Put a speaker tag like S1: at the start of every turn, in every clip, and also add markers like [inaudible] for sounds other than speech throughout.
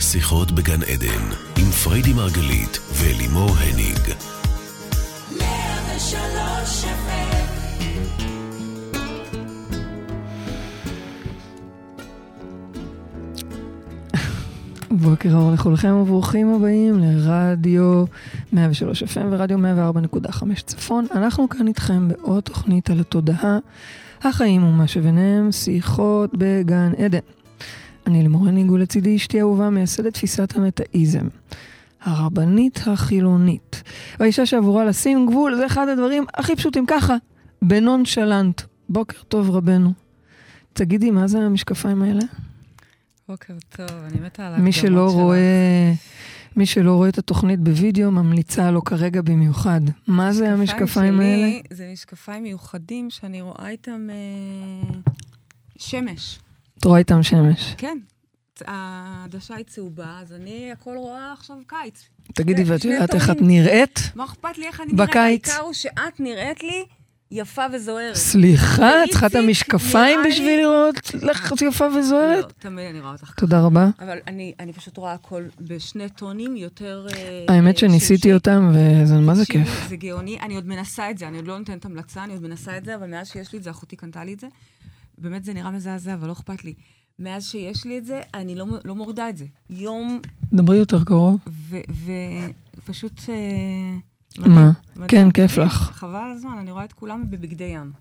S1: שיחות בגן עדן, עם פריידי מרגלית ולימור הניג.
S2: בוקר אור לכולכם וברוכים הבאים לרדיו 103 FM ורדיו 104.5 צפון. אנחנו כאן איתכם בעוד תוכנית על התודעה, החיים ומה שביניהם, שיחות בגן עדן. אני לימור הניג ולצידי אשתי אהובה מייסדת תפיסת המטאיזם. הרבנית החילונית. והאישה שעבורה לשים גבול זה אחד הדברים הכי פשוטים ככה, בנונשלנט. בוקר טוב רבנו. תגידי, מה זה המשקפיים האלה?
S3: בוקר אוקיי, טוב, אני מתה על ההקדמות
S2: מי שלא
S3: שלך.
S2: רואה, מי שלא רואה את התוכנית בווידאו, ממליצה לו כרגע במיוחד. מה זה המשקפיים
S3: שלי
S2: האלה?
S3: זה משקפיים מיוחדים שאני רואה איתם אה, שמש.
S2: את רואה איתם שמש.
S3: כן. צ- העדשה היא צהובה, אז אני הכל רואה עכשיו קיץ.
S2: תגידי,
S3: שני-
S2: ואת
S3: כן, שני
S2: יודעת איך את
S3: תורים.
S2: נראית?
S3: מה אכפת לי איך אני נראית?
S2: בקיץ.
S3: העיקר הוא שאת נראית לי יפה וזוהרת.
S2: סליחה, את
S3: ואיציק
S2: צריכה את המשקפיים
S3: נראה לי-
S2: בשביל לראות לך את יפה וזוהרת?
S3: לא, אה, תמיד אני רואה אותך ככה.
S2: תודה רבה.
S3: אבל אני, אני פשוט רואה הכל בשני טונים יותר... אה,
S2: האמת
S3: אה,
S2: שניסיתי
S3: שמשי.
S2: אותם, וזה מה זה כיף.
S3: תקשיבו, זה גאוני, אני עוד מנסה את זה, אני עוד לא נותנת המלצה, אני עוד מנסה את זה, אבל מאז שיש לי את זה, אחותי קנתה לי את זה. באמת זה נראה מזעזע, אבל לא אכפת לי. מאז שיש לי את זה, אני לא, מ- לא מורידה את זה. יום,
S2: דברי יותר קרוב.
S3: ופשוט... אה,
S2: מה?
S3: מדהים.
S2: כן, כיף לך.
S3: חבל על הזמן, אני רואה את כולם בבגדי ים.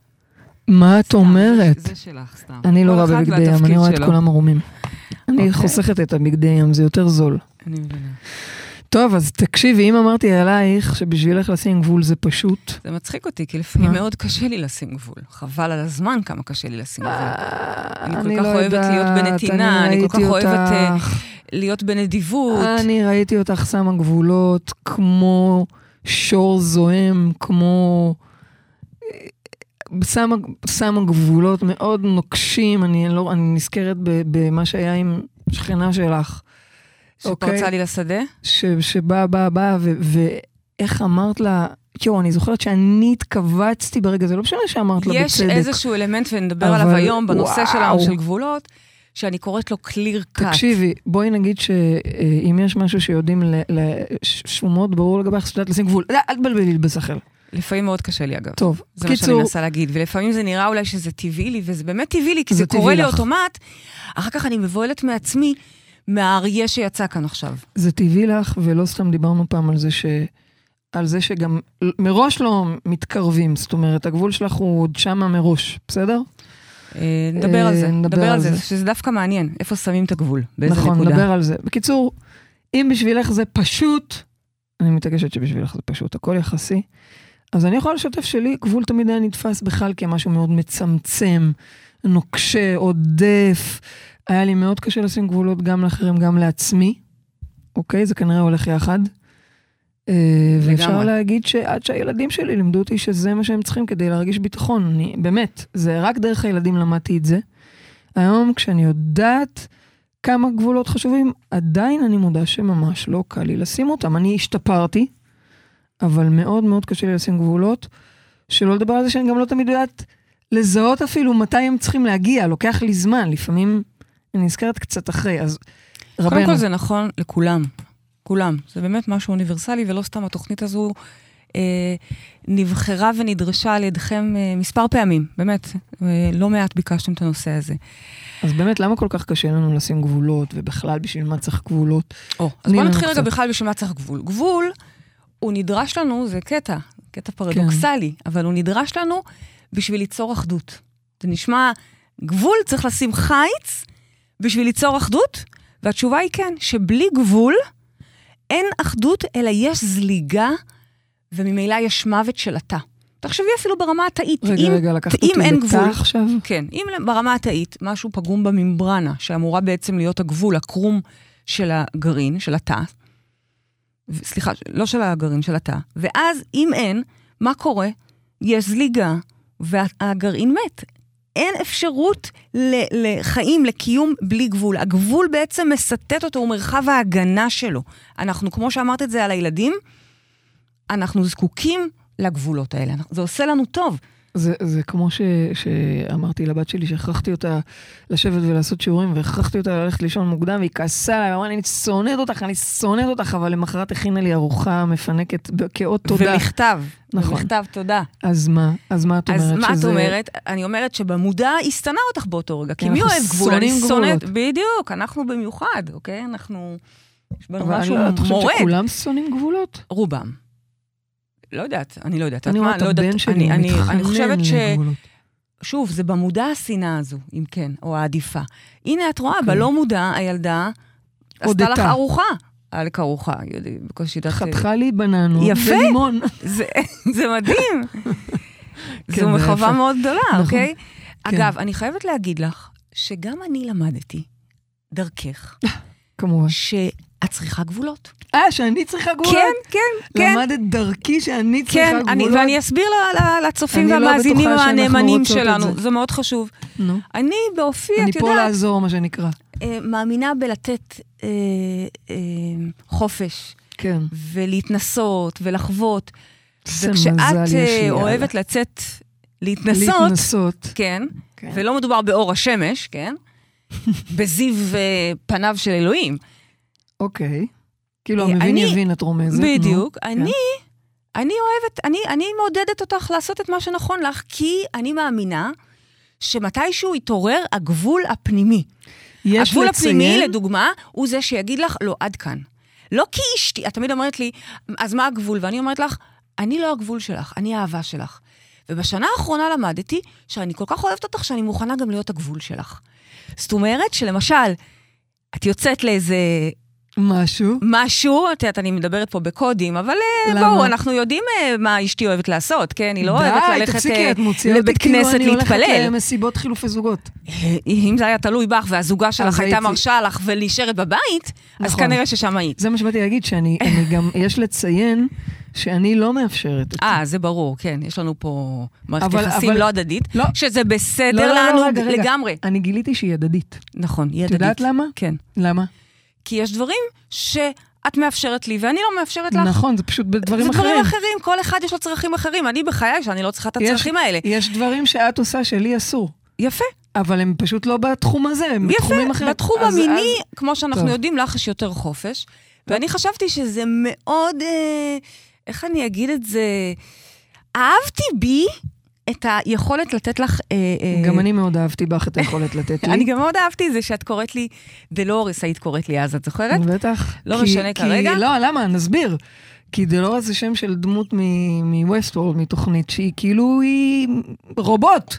S2: מה את
S3: סתם,
S2: אומרת?
S3: זה, זה שלך, סתם.
S2: אני לא
S3: כל
S2: רואה
S3: אחד
S2: בבגדי ים,
S3: והתפקיד
S2: אני רואה את
S3: שלו.
S2: כולם ערומים. אני
S3: אוקיי.
S2: חוסכת את הבגדי ים, זה יותר זול.
S3: אני מבינה.
S2: טוב, אז תקשיבי, אם אמרתי עלייך שבשבילך לשים גבול זה פשוט,
S3: זה מצחיק אותי, כי לפעמים
S2: מה?
S3: מאוד קשה לי לשים גבול. חבל על הזמן כמה קשה לי לשים גבול.
S2: אני לא
S3: אני כל כך אוהבת להיות בנתינה, אני כל כך אוהבת, אה, להיות בנדיבות.
S2: אה, אני ראיתי אותך שמה גבולות כמו שור זועם, כמו... אה, שמה, שמה גבולות מאוד נוקשים, אני, לא, אני נזכרת ב, במה שהיה עם שכנה שלך, אוקיי.
S3: שפרצה לי לשדה?
S2: ש, שבאה, באה, באה, ו- ואיך אמרת לה, יואו, אני זוכרת שאני התכווצתי ברגע, זה לא משנה שאמרת לה
S3: יש
S2: בצדק.
S3: איזשהו אלמנט, ונדבר
S2: אבל-
S3: עליו היום, בנושא שלנו
S2: וואו.
S3: של גבולות, שאני קוראת לו clear cut.
S2: תקשיבי, בואי נגיד שאם יש משהו שיודעים לשומות, ברור לגביך שאת יודעת לשים גבול. לא, אל תבלבלי לי בשכל.
S3: לפעמים מאוד קשה לי, אגב.
S2: טוב,
S3: זה מה שאני
S2: קיצור,
S3: מנסה להגיד, ולפעמים זה נראה אולי שזה טבעי לי, וזה באמת טבעי לי, כי
S2: זה
S3: זה קורה
S2: טבעי
S3: לי
S2: לך.
S3: אוטומט, אחר כך אני מבוהלת מעצמי, מהאריה שיצא כאן עכשיו.
S2: זה טבעי לך, ולא סתם דיברנו פעם על זה ש... על זה שגם מראש לא מתקרבים, זאת אומרת, הגבול שלך הוא עוד שמה מראש, בסדר?
S3: אה, נדבר על זה,
S2: אה, נדבר
S3: נדבר
S2: על
S3: על זה,
S2: זה.
S3: שזה דווקא מעניין, איפה שמים את הגבול, באיזה נקודה.
S2: נכון, נדבר על זה. בקיצור, אם בשבילך זה פשוט, אני מתעקשת שבשבילך זה פשוט, הכל יחסי. אז אני יכולה לשתף שלי, גבול תמיד היה נתפס בכלל כמשהו מאוד מצמצם, נוקשה, עודף. היה לי מאוד קשה לשים גבולות גם לאחרים, גם לעצמי. אוקיי? זה כנראה הולך יחד. אה, ואפשר
S3: לגמרי.
S2: להגיד שעד שהילדים שלי לימדו אותי שזה מה שהם צריכים כדי להרגיש ביטחון. אני, באמת, זה רק דרך הילדים למדתי את זה. היום כשאני יודעת כמה גבולות חשובים, עדיין אני מודה שממש לא קל לי לשים אותם. אני השתפרתי, אבל מאוד מאוד קשה לי לשים גבולות, שלא לדבר על זה שאני גם לא תמיד יודעת לזהות אפילו מתי הם צריכים להגיע, לוקח לי זמן, לפעמים אני נזכרת קצת אחרי, אז רבנו.
S3: קודם כל זה נכון לכולם, כולם. זה באמת משהו אוניברסלי, ולא סתם התוכנית הזו אה, נבחרה ונדרשה על ידכם אה, מספר פעמים, באמת. אה, לא מעט ביקשתם את הנושא הזה.
S2: אז באמת, למה כל כך קשה לנו לשים גבולות, ובכלל בשביל מה צריך גבולות?
S3: או, אז
S2: תני
S3: בואו
S2: לנו
S3: נתחיל רגע
S2: קצת.
S3: בכלל בשביל מה צריך גבול. גבול, הוא נדרש לנו, זה קטע, קטע פרדוקסלי, כן. אבל הוא נדרש לנו בשביל ליצור אחדות. זה נשמע, גבול צריך לשים חיץ בשביל ליצור אחדות? והתשובה היא כן, שבלי גבול אין אחדות, אלא יש זליגה, וממילא יש מוות של התא. תחשבי אפילו ברמה התאית.
S2: רגע,
S3: אם-
S2: רגע, לקחת
S3: אם
S2: אותי
S3: אין
S2: לתא
S3: גבול.
S2: עכשיו?
S3: כן, אם ברמה התאית משהו פגום בממברנה, שאמורה בעצם להיות הגבול, הקרום של הגרעין, של התא, ו- סליחה, לא של הגרעין, של התא, ואז אם אין, מה קורה? יש זליגה, והגרעין מת. אין אפשרות ל- לחיים, לקיום בלי גבול. הגבול בעצם מסטט אותו, הוא מרחב ההגנה שלו. אנחנו, כמו שאמרת את זה על הילדים, אנחנו זקוקים לגבולות האלה. אנחנו- זה עושה לנו טוב.
S2: זה, זה כמו ש, שאמרתי לבת שלי, שהכרחתי אותה לשבת ולעשות שיעורים, והכרחתי אותה ללכת לישון מוקדם, והיא כעסה עליי, אמרה לי, אני שונאת אותך, אני שונאת אותך, אבל למחרת הכינה לי ארוחה מפנקת ב- כאות תודה.
S3: ומכתב,
S2: נכון.
S3: ומכתב תודה.
S2: אז מה? אז מה את אומרת?
S3: אז מה את
S2: שזה-
S3: אומרת? אני אומרת שבמודע היא שנאה אותך באותו רגע. כי
S2: כן,
S3: מי
S2: אנחנו
S3: אוהב גבול? אני
S2: שונאים
S3: שונאת...
S2: גבולות.
S3: בדיוק, אנחנו במיוחד, אוקיי? אנחנו... יש בנו
S2: אבל אני
S3: משהו
S2: לא- את חושבת
S3: מורד.
S2: שכולם שונאים גבולות?
S3: רובם. לא יודעת, אני לא יודעת.
S2: אני
S3: את
S2: רואה
S3: מה?
S2: את
S3: לא יודעת.
S2: הבן שלי
S3: אני- אני- אני
S2: מתחנן
S3: חושבת ש...
S2: לגבולות.
S3: שוב, זה במודע השנאה הזו, אם כן, או העדיפה. הנה, את רואה, בלא מודע, הילדה עשתה
S2: כן. הודתה.
S3: לך ארוחה. היה לך ארוחה, יודעי, בקושי יודעת...
S2: חתכה לי בננות.
S3: יפה.
S2: ולימון. [laughs]
S3: זה, [laughs] זה מדהים.
S2: כן,
S3: זו
S2: זה
S3: מחווה
S2: יפה.
S3: מאוד גדולה,
S2: נכון.
S3: אוקיי?
S2: כן.
S3: אגב, אני חייבת להגיד לך, שגם אני למדתי, דרכך,
S2: כמובן.
S3: שאת צריכה גבולות.
S2: אה, שאני צריכה גבולות?
S3: כן, כן, כן.
S2: למדת דרכי שאני צריכה
S3: כן,
S2: גבולות?
S3: אני, ואני אסביר ל- ל- לצופים
S2: אני לא
S3: והמאזינים
S2: בטוחה שאנחנו
S3: והנאמנים
S2: רוצות את
S3: שלנו,
S2: זה.
S3: זה מאוד חשוב.
S2: נו.
S3: אני באופי,
S2: אני
S3: את
S2: פה
S3: יודעת,
S2: לעזור, מה שנקרא.
S3: אה, מאמינה בלתת אה, אה, חופש,
S2: כן.
S3: ולהתנסות, ולחוות.
S2: איזה מזל
S3: וכשאת
S2: יש לי,
S3: אה,
S2: יאללה.
S3: אוהבת לצאת, להתנסות,
S2: להתנסות.
S3: כן,
S2: כן.
S3: ולא מדובר באור השמש, כן? בזיו אה, פניו של אלוהים.
S2: אוקיי. כאילו,
S3: אה,
S2: המבין
S3: אני-
S2: יבין, את רומזת. נו.
S3: בדיוק. אני, אני אוהבת, אני, אני מעודדת אותך לעשות את מה שנכון לך, כי אני מאמינה שמתישהו יתעורר הגבול הפנימי.
S2: יש
S3: הגבול הפנימי,
S2: לציין-
S3: לדוגמה, הוא זה שיגיד לך, לא, עד כאן. לא כי אשתי, את תמיד אומרת לי, אז מה הגבול? ואני אומרת לך, אני לא הגבול שלך, אני האהבה שלך. ובשנה האחרונה למדתי שאני כל כך אוהבת אותך, שאני מוכנה גם להיות הגבול שלך. זאת אומרת שלמשל, את יוצאת לאיזה
S2: משהו.
S3: משהו, את יודעת, אני מדברת פה בקודים, אבל אה,
S2: למה?
S3: בואו, אנחנו יודעים אה, מה אשתי אוהבת לעשות, כן? היא לא אוהבת
S2: די,
S3: ללכת
S2: תפסיקי,
S3: אה,
S2: את מוציאה אותי
S3: לבית
S2: כאילו
S3: כנסת
S2: אני הולכת
S3: להתפלל.
S2: למסיבות חילופי זוגות.
S3: אה, אם זה היה תלוי בך והזוגה שלך הייתה
S2: הייתי-
S3: מרשה לך ונשארת בבית, אז
S2: נכון.
S3: כנראה ששם היית.
S2: זה מה שבאתי להגיד, שאני אני גם, יש לציין שאני לא מאפשרת את
S3: אה, זה ברור, כן, יש לנו פה מערכת
S2: אבל-
S3: יחסים
S2: אבל-
S3: לא הדדית,
S2: לא.
S3: שזה
S2: לא,
S3: בסדר
S2: לא, לא,
S3: לנו
S2: רגע, רגע.
S3: לגמרי.
S2: אני גיליתי שהיא הדדית.
S3: נכון, היא
S2: את
S3: הדדית.
S2: יודעת למה?
S3: כן.
S2: למה?
S3: כי יש דברים שאת מאפשרת לי ואני לא מאפשרת לך.
S2: נכון, זה פשוט בדברים
S3: זה
S2: אחרים.
S3: דברים אחרים, כל אחד יש לו צרכים אחרים. אני בחיי שאני לא צריכה את
S2: יש-
S3: הצרכים האלה.
S2: יש דברים שאת עושה שלי אסור,
S3: יפה,
S2: אבל הם פשוט לא בתחום הזה, הם בתחומים
S3: יפה.
S2: אחרים.
S3: בתחום
S2: אז-
S3: המיני, כמו שאנחנו
S2: טוב.
S3: יודעים, לך יש יותר חופש. ואני חשבתי שזה מאוד, אה, איך אני אגיד את זה? אהבתי בי את היכולת לתת לך... אה, אה,
S2: אז- גם אני מאוד אהבתי בך את היכולת לתת לי.
S3: אני גם מאוד אהבתי את זה שאת קוראת לי דלוריס, היית קוראת לי אז, את זוכרת?
S2: בטח.
S3: לא
S2: כי-
S3: משנה
S2: כי-
S3: כרגע.
S2: לא, למה? נסביר. כי דלורה זה שם של דמות מווסטוורד, מתוכנית, שהיא כאילו, היא רובוט.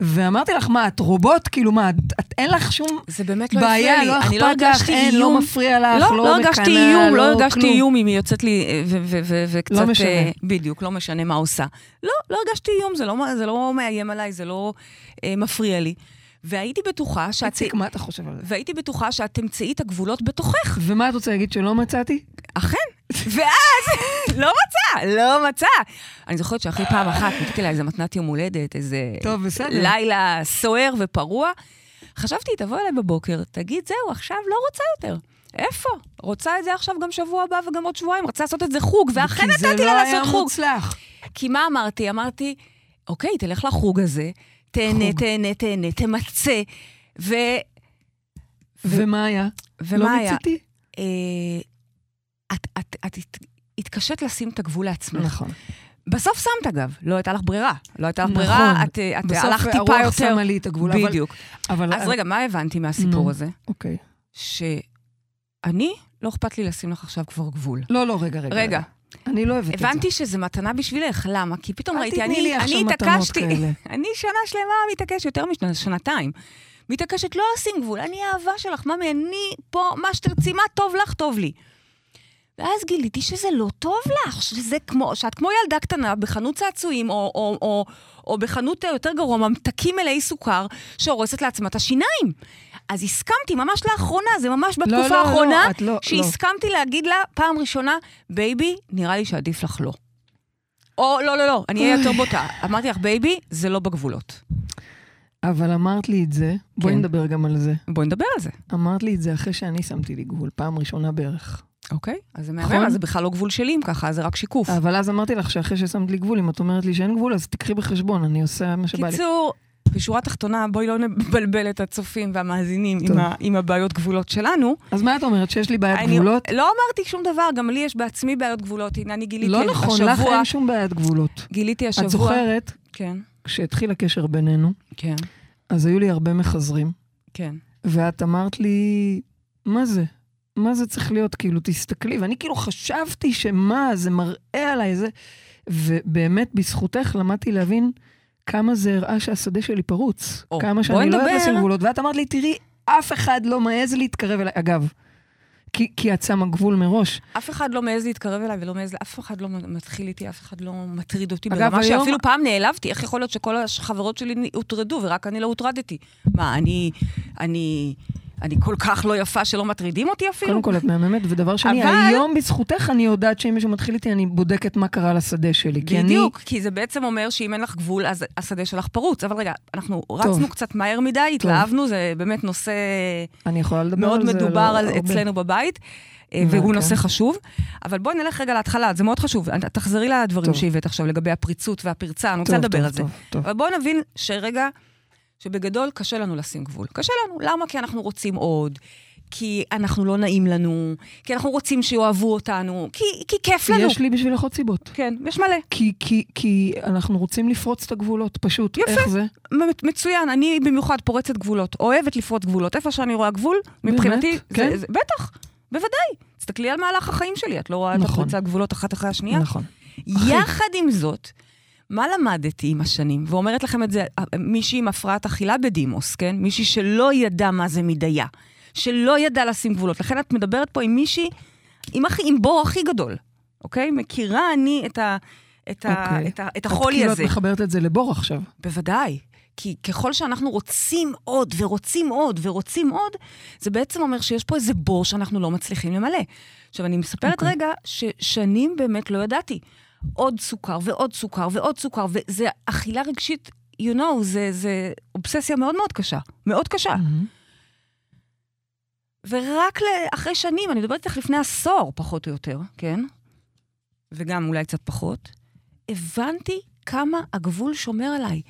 S2: ואמרתי לך, מה, את רובוט? כאילו, מה, את, את אין לך שום
S3: זה באמת לא הפריע
S2: בעיה,
S3: לי.
S2: לא
S3: אני
S2: אכפת לך,
S3: הרגשתי
S2: אין, לא
S3: איום.
S2: מפריע לך,
S3: לא,
S2: לא
S3: לא הרגשתי
S2: מקנא,
S3: איום, לא
S2: לא
S3: הרגשתי
S2: כלום.
S3: איום אם היא יוצאת לי אה, ו- ו- ו- וקצת...
S2: לא משנה.
S3: אה, בדיוק, לא משנה מה עושה. לא, לא הרגשתי איום, זה לא מה- זה לא מאיים עליי, זה לא אה, מפריע לי. והייתי בטוחה שאת...
S2: איציק, מה אתה חושב על זה?
S3: והייתי בטוחה שאת תמצאי את הגבולות בתוכך.
S2: ומה את רוצה להגיד שלא מצאתי?
S3: אכן. ואז, [laughs] לא מצא, לא מצא. אני זוכרת שאחרי פעם אחת נתתי לה איזה מתנת יום הולדת, איזה
S2: טוב, בסדר.
S3: לילה סוער ופרוע. חשבתי, היא תבוא אליי בבוקר, תגיד, זהו, עכשיו לא רוצה יותר. איפה? רוצה את זה עכשיו גם שבוע הבא וגם עוד שבועיים, רצה לעשות את זה חוג, ואכן כן, נתתי לה
S2: כי זה לא
S3: לעשות
S2: היה
S3: חוג.
S2: מוצלח.
S3: כי מה אמרתי? אמרתי, אוקיי, תלך לחוג הזה, תהנה,
S2: חוג.
S3: תהנה, תהנה, תמצה. ו...
S2: ומה היה?
S3: ומה
S2: לא
S3: היה?
S2: מיציתי?
S3: אה, את, את, את הת- התקשית לשים את הגבול לעצמך.
S2: נכון.
S3: בסוף שמת אגב, לא הייתה לך ברירה. לא הייתה לך
S2: נכון.
S3: ברירה, את, אה, את הלכת טיפה יותר.
S2: בסוף הרוח שמה לי את הגבול. אבל-
S3: בדיוק.
S2: אבל...
S3: אז רגע, מה הבנתי מהסיפור
S2: נו.
S3: הזה?
S2: אוקיי.
S3: שאני, לא אכפת לי לשים לך עכשיו כבר גבול.
S2: לא, לא, רגע, רגע.
S3: רגע,
S2: אני לא אוהבת את זה.
S3: הבנתי שזה מתנה בשבילך, למה? כי פתאום
S2: אל
S3: ראיתי,
S2: תתני
S3: אני
S2: לי עכשיו
S3: אני
S2: מתנות
S3: התעקשתי,
S2: כאלה.
S3: [laughs] אני שנה שלמה מתעקשת, יותר משנתיים. מתעקשת לא לשים גבול, אני האהבה שלך, ממי, אני פה, מה שתרצי, מה טוב לך, טוב לי. ואז גיליתי שזה לא טוב לך, שזה כמו, שאת כמו ילדה קטנה בחנות צעצועים, או, או, או, או בחנות אה, יותר גרוע, ממתקים מלאי סוכר, שהורסת לעצמה את השיניים. אז הסכמתי ממש לאחרונה, זה ממש
S2: לא, לא,
S3: בתקופה
S2: לא,
S3: האחרונה,
S2: את לא, לא.
S3: שהסכמתי להגיד לה פעם ראשונה, בייבי, נראה לי שעדיף לך לא. או, לא, לא, לא, אני אהיה יותר בוטה. אמרתי לך, בייבי, זה לא בגבולות.
S2: אבל אמרת לי את זה, בואי
S3: כן.
S2: נדבר גם על זה.
S3: בואי נדבר על זה.
S2: אמרת לי את זה אחרי שאני שמתי לי גבול, פעם ראשונה בערך.
S3: אוקיי? אז זה
S2: נכון.
S3: מהמם, אז זה בכלל לא גבול שלי, אם ככה, אז זה רק שיקוף.
S2: אבל אז אמרתי לך שאחרי ששמת לי גבול, אם את אומרת לי שאין גבול, אז תקחי בחשבון, אני עושה מה שבא לי.
S3: קיצור, בשורה התחתונה, בואי לא נבלבל את הצופים והמאזינים עם
S2: טוב.
S3: ה- עם הבעיות גבולות שלנו.
S2: אז מה את אומרת, שיש לי בעיית
S3: אני-
S2: גבולות?
S3: לא אמרתי שום דבר, גם לי יש בעצמי בעיות גבולות. הנה, אני גיליתי
S2: לא נכון, לך
S3: כן, השבוע-
S2: אין שום בעיית גבולות.
S3: גיליתי השבוע...
S2: את זוכרת,
S3: כן,
S2: כשהתחיל הקשר בינינו,
S3: כן,
S2: אז היו לי הרבה מחזרים,
S3: כן.
S2: ואת אמרת לי, מה זה? מה זה צריך להיות? כאילו, תסתכלי. ואני כאילו חשבתי שמה, זה מראה עליי, זה... ובאמת, בזכותך למדתי להבין כמה זה הראה שהשדה שלי פרוץ.
S3: או,
S2: כמה
S3: בואי
S2: שאני לא יודעת
S3: נדבר.
S2: לשים גבולות. ואת אמרת לי, תראי, אף אחד לא מעז להתקרב אליי. אגב, כי, כי את שמה גבול מראש.
S3: אף אחד לא מעז להתקרב אליי ולא מעז, אף אחד לא מתחיל איתי, אף אחד לא מטריד אותי.
S2: אגב,
S3: ברמה
S2: היום-
S3: שאפילו פעם נעלבתי, איך יכול להיות שכל החברות שלי הוטרדו ורק אני לא הוטרדתי? מה, אני, אני, אני כל כך לא יפה שלא מטרידים אותי אפילו?
S2: קודם כל, את מהממת, ודבר שני,
S3: אבל-
S2: היום בזכותך אני יודעת שאם מישהו מתחיל איתי, אני בודקת מה קרה לשדה שלי. כי אני-
S3: בדיוק, כי זה בעצם אומר שאם אין לך גבול, אז השדה שלך פרוץ. אבל רגע, אנחנו רצנו קצת מהר מדי, התלהבנו, זה באמת נושא
S2: אני יכולה לדבר
S3: מאוד
S2: על זה.
S3: מדובר
S2: לא-
S3: על-
S2: הרבה.
S3: אצלנו בבית, אה,
S2: אוקיי.
S3: והוא נושא חשוב. אבל בואו נלך רגע להתחלה, זה מאוד חשוב. אה, תחזרי לדברים
S2: טוב.
S3: שהבאת עכשיו לגבי הפריצות והפרצה, אני
S2: טוב,
S3: רוצה לדבר
S2: טוב,
S3: על זה.
S2: טוב, טוב.
S3: אבל בואו נבין שרגע, שבגדול קשה לנו לשים גבול. קשה לנו. למה? כי אנחנו רוצים עוד. כי אנחנו לא נעים לנו, כי אנחנו רוצים שיאהבו אותנו, כי, כי כיף לנו.
S2: יש לי בשבילך עוד סיבות.
S3: כן, יש מלא.
S2: כי, כי, כי אנחנו רוצים לפרוץ את הגבולות, פשוט.
S3: יפה.
S2: איך זה?
S3: באמת, מצוין, אני במיוחד פורצת גבולות, אוהבת לפרוץ גבולות. איפה שאני רואה גבול,
S2: באמת?
S3: מבחינתי,
S2: כן?
S3: זה, זה, בטח, בוודאי. תסתכלי על מהלך החיים שלי, את לא רואה את
S2: נכון.
S3: הפריצת גבולות אחת אחרי השנייה?
S2: נכון.
S3: יחד עם זאת, מה למדתי עם השנים? ואומרת לכם את זה אה, מישהי עם הפרעת אכילה בדימוס, כן? מישהי שלא ידע מה זה מדייה, שלא ידע לשים גבולות. לכן את מדברת פה עם מישהי, עם, הכי, עם בור הכי גדול, אוקיי? מכירה אני את, ה, את, ה,
S2: אוקיי.
S3: את, ה, את החולי
S2: כאילו
S3: הזה.
S2: את מחברת את זה לבור עכשיו.
S3: בוודאי. כי ככל שאנחנו רוצים עוד ורוצים עוד ורוצים עוד, זה בעצם אומר שיש פה איזה בור שאנחנו לא מצליחים למלא. עכשיו, אני מספרת okay.
S2: אוקיי.
S3: רגע ששנים באמת לא ידעתי. עוד סוכר ועוד סוכר ועוד סוכר, וזה אכילה רגשית, you know, זה, זה אובססיה מאוד מאוד קשה. מאוד קשה.
S2: מהמם.
S3: ורק ל- אחרי שנים, אני מדברת איתך לפני עשור, פחות או יותר, כן? וגם אולי קצת פחות, הבנתי כמה הגבול שומר עליי.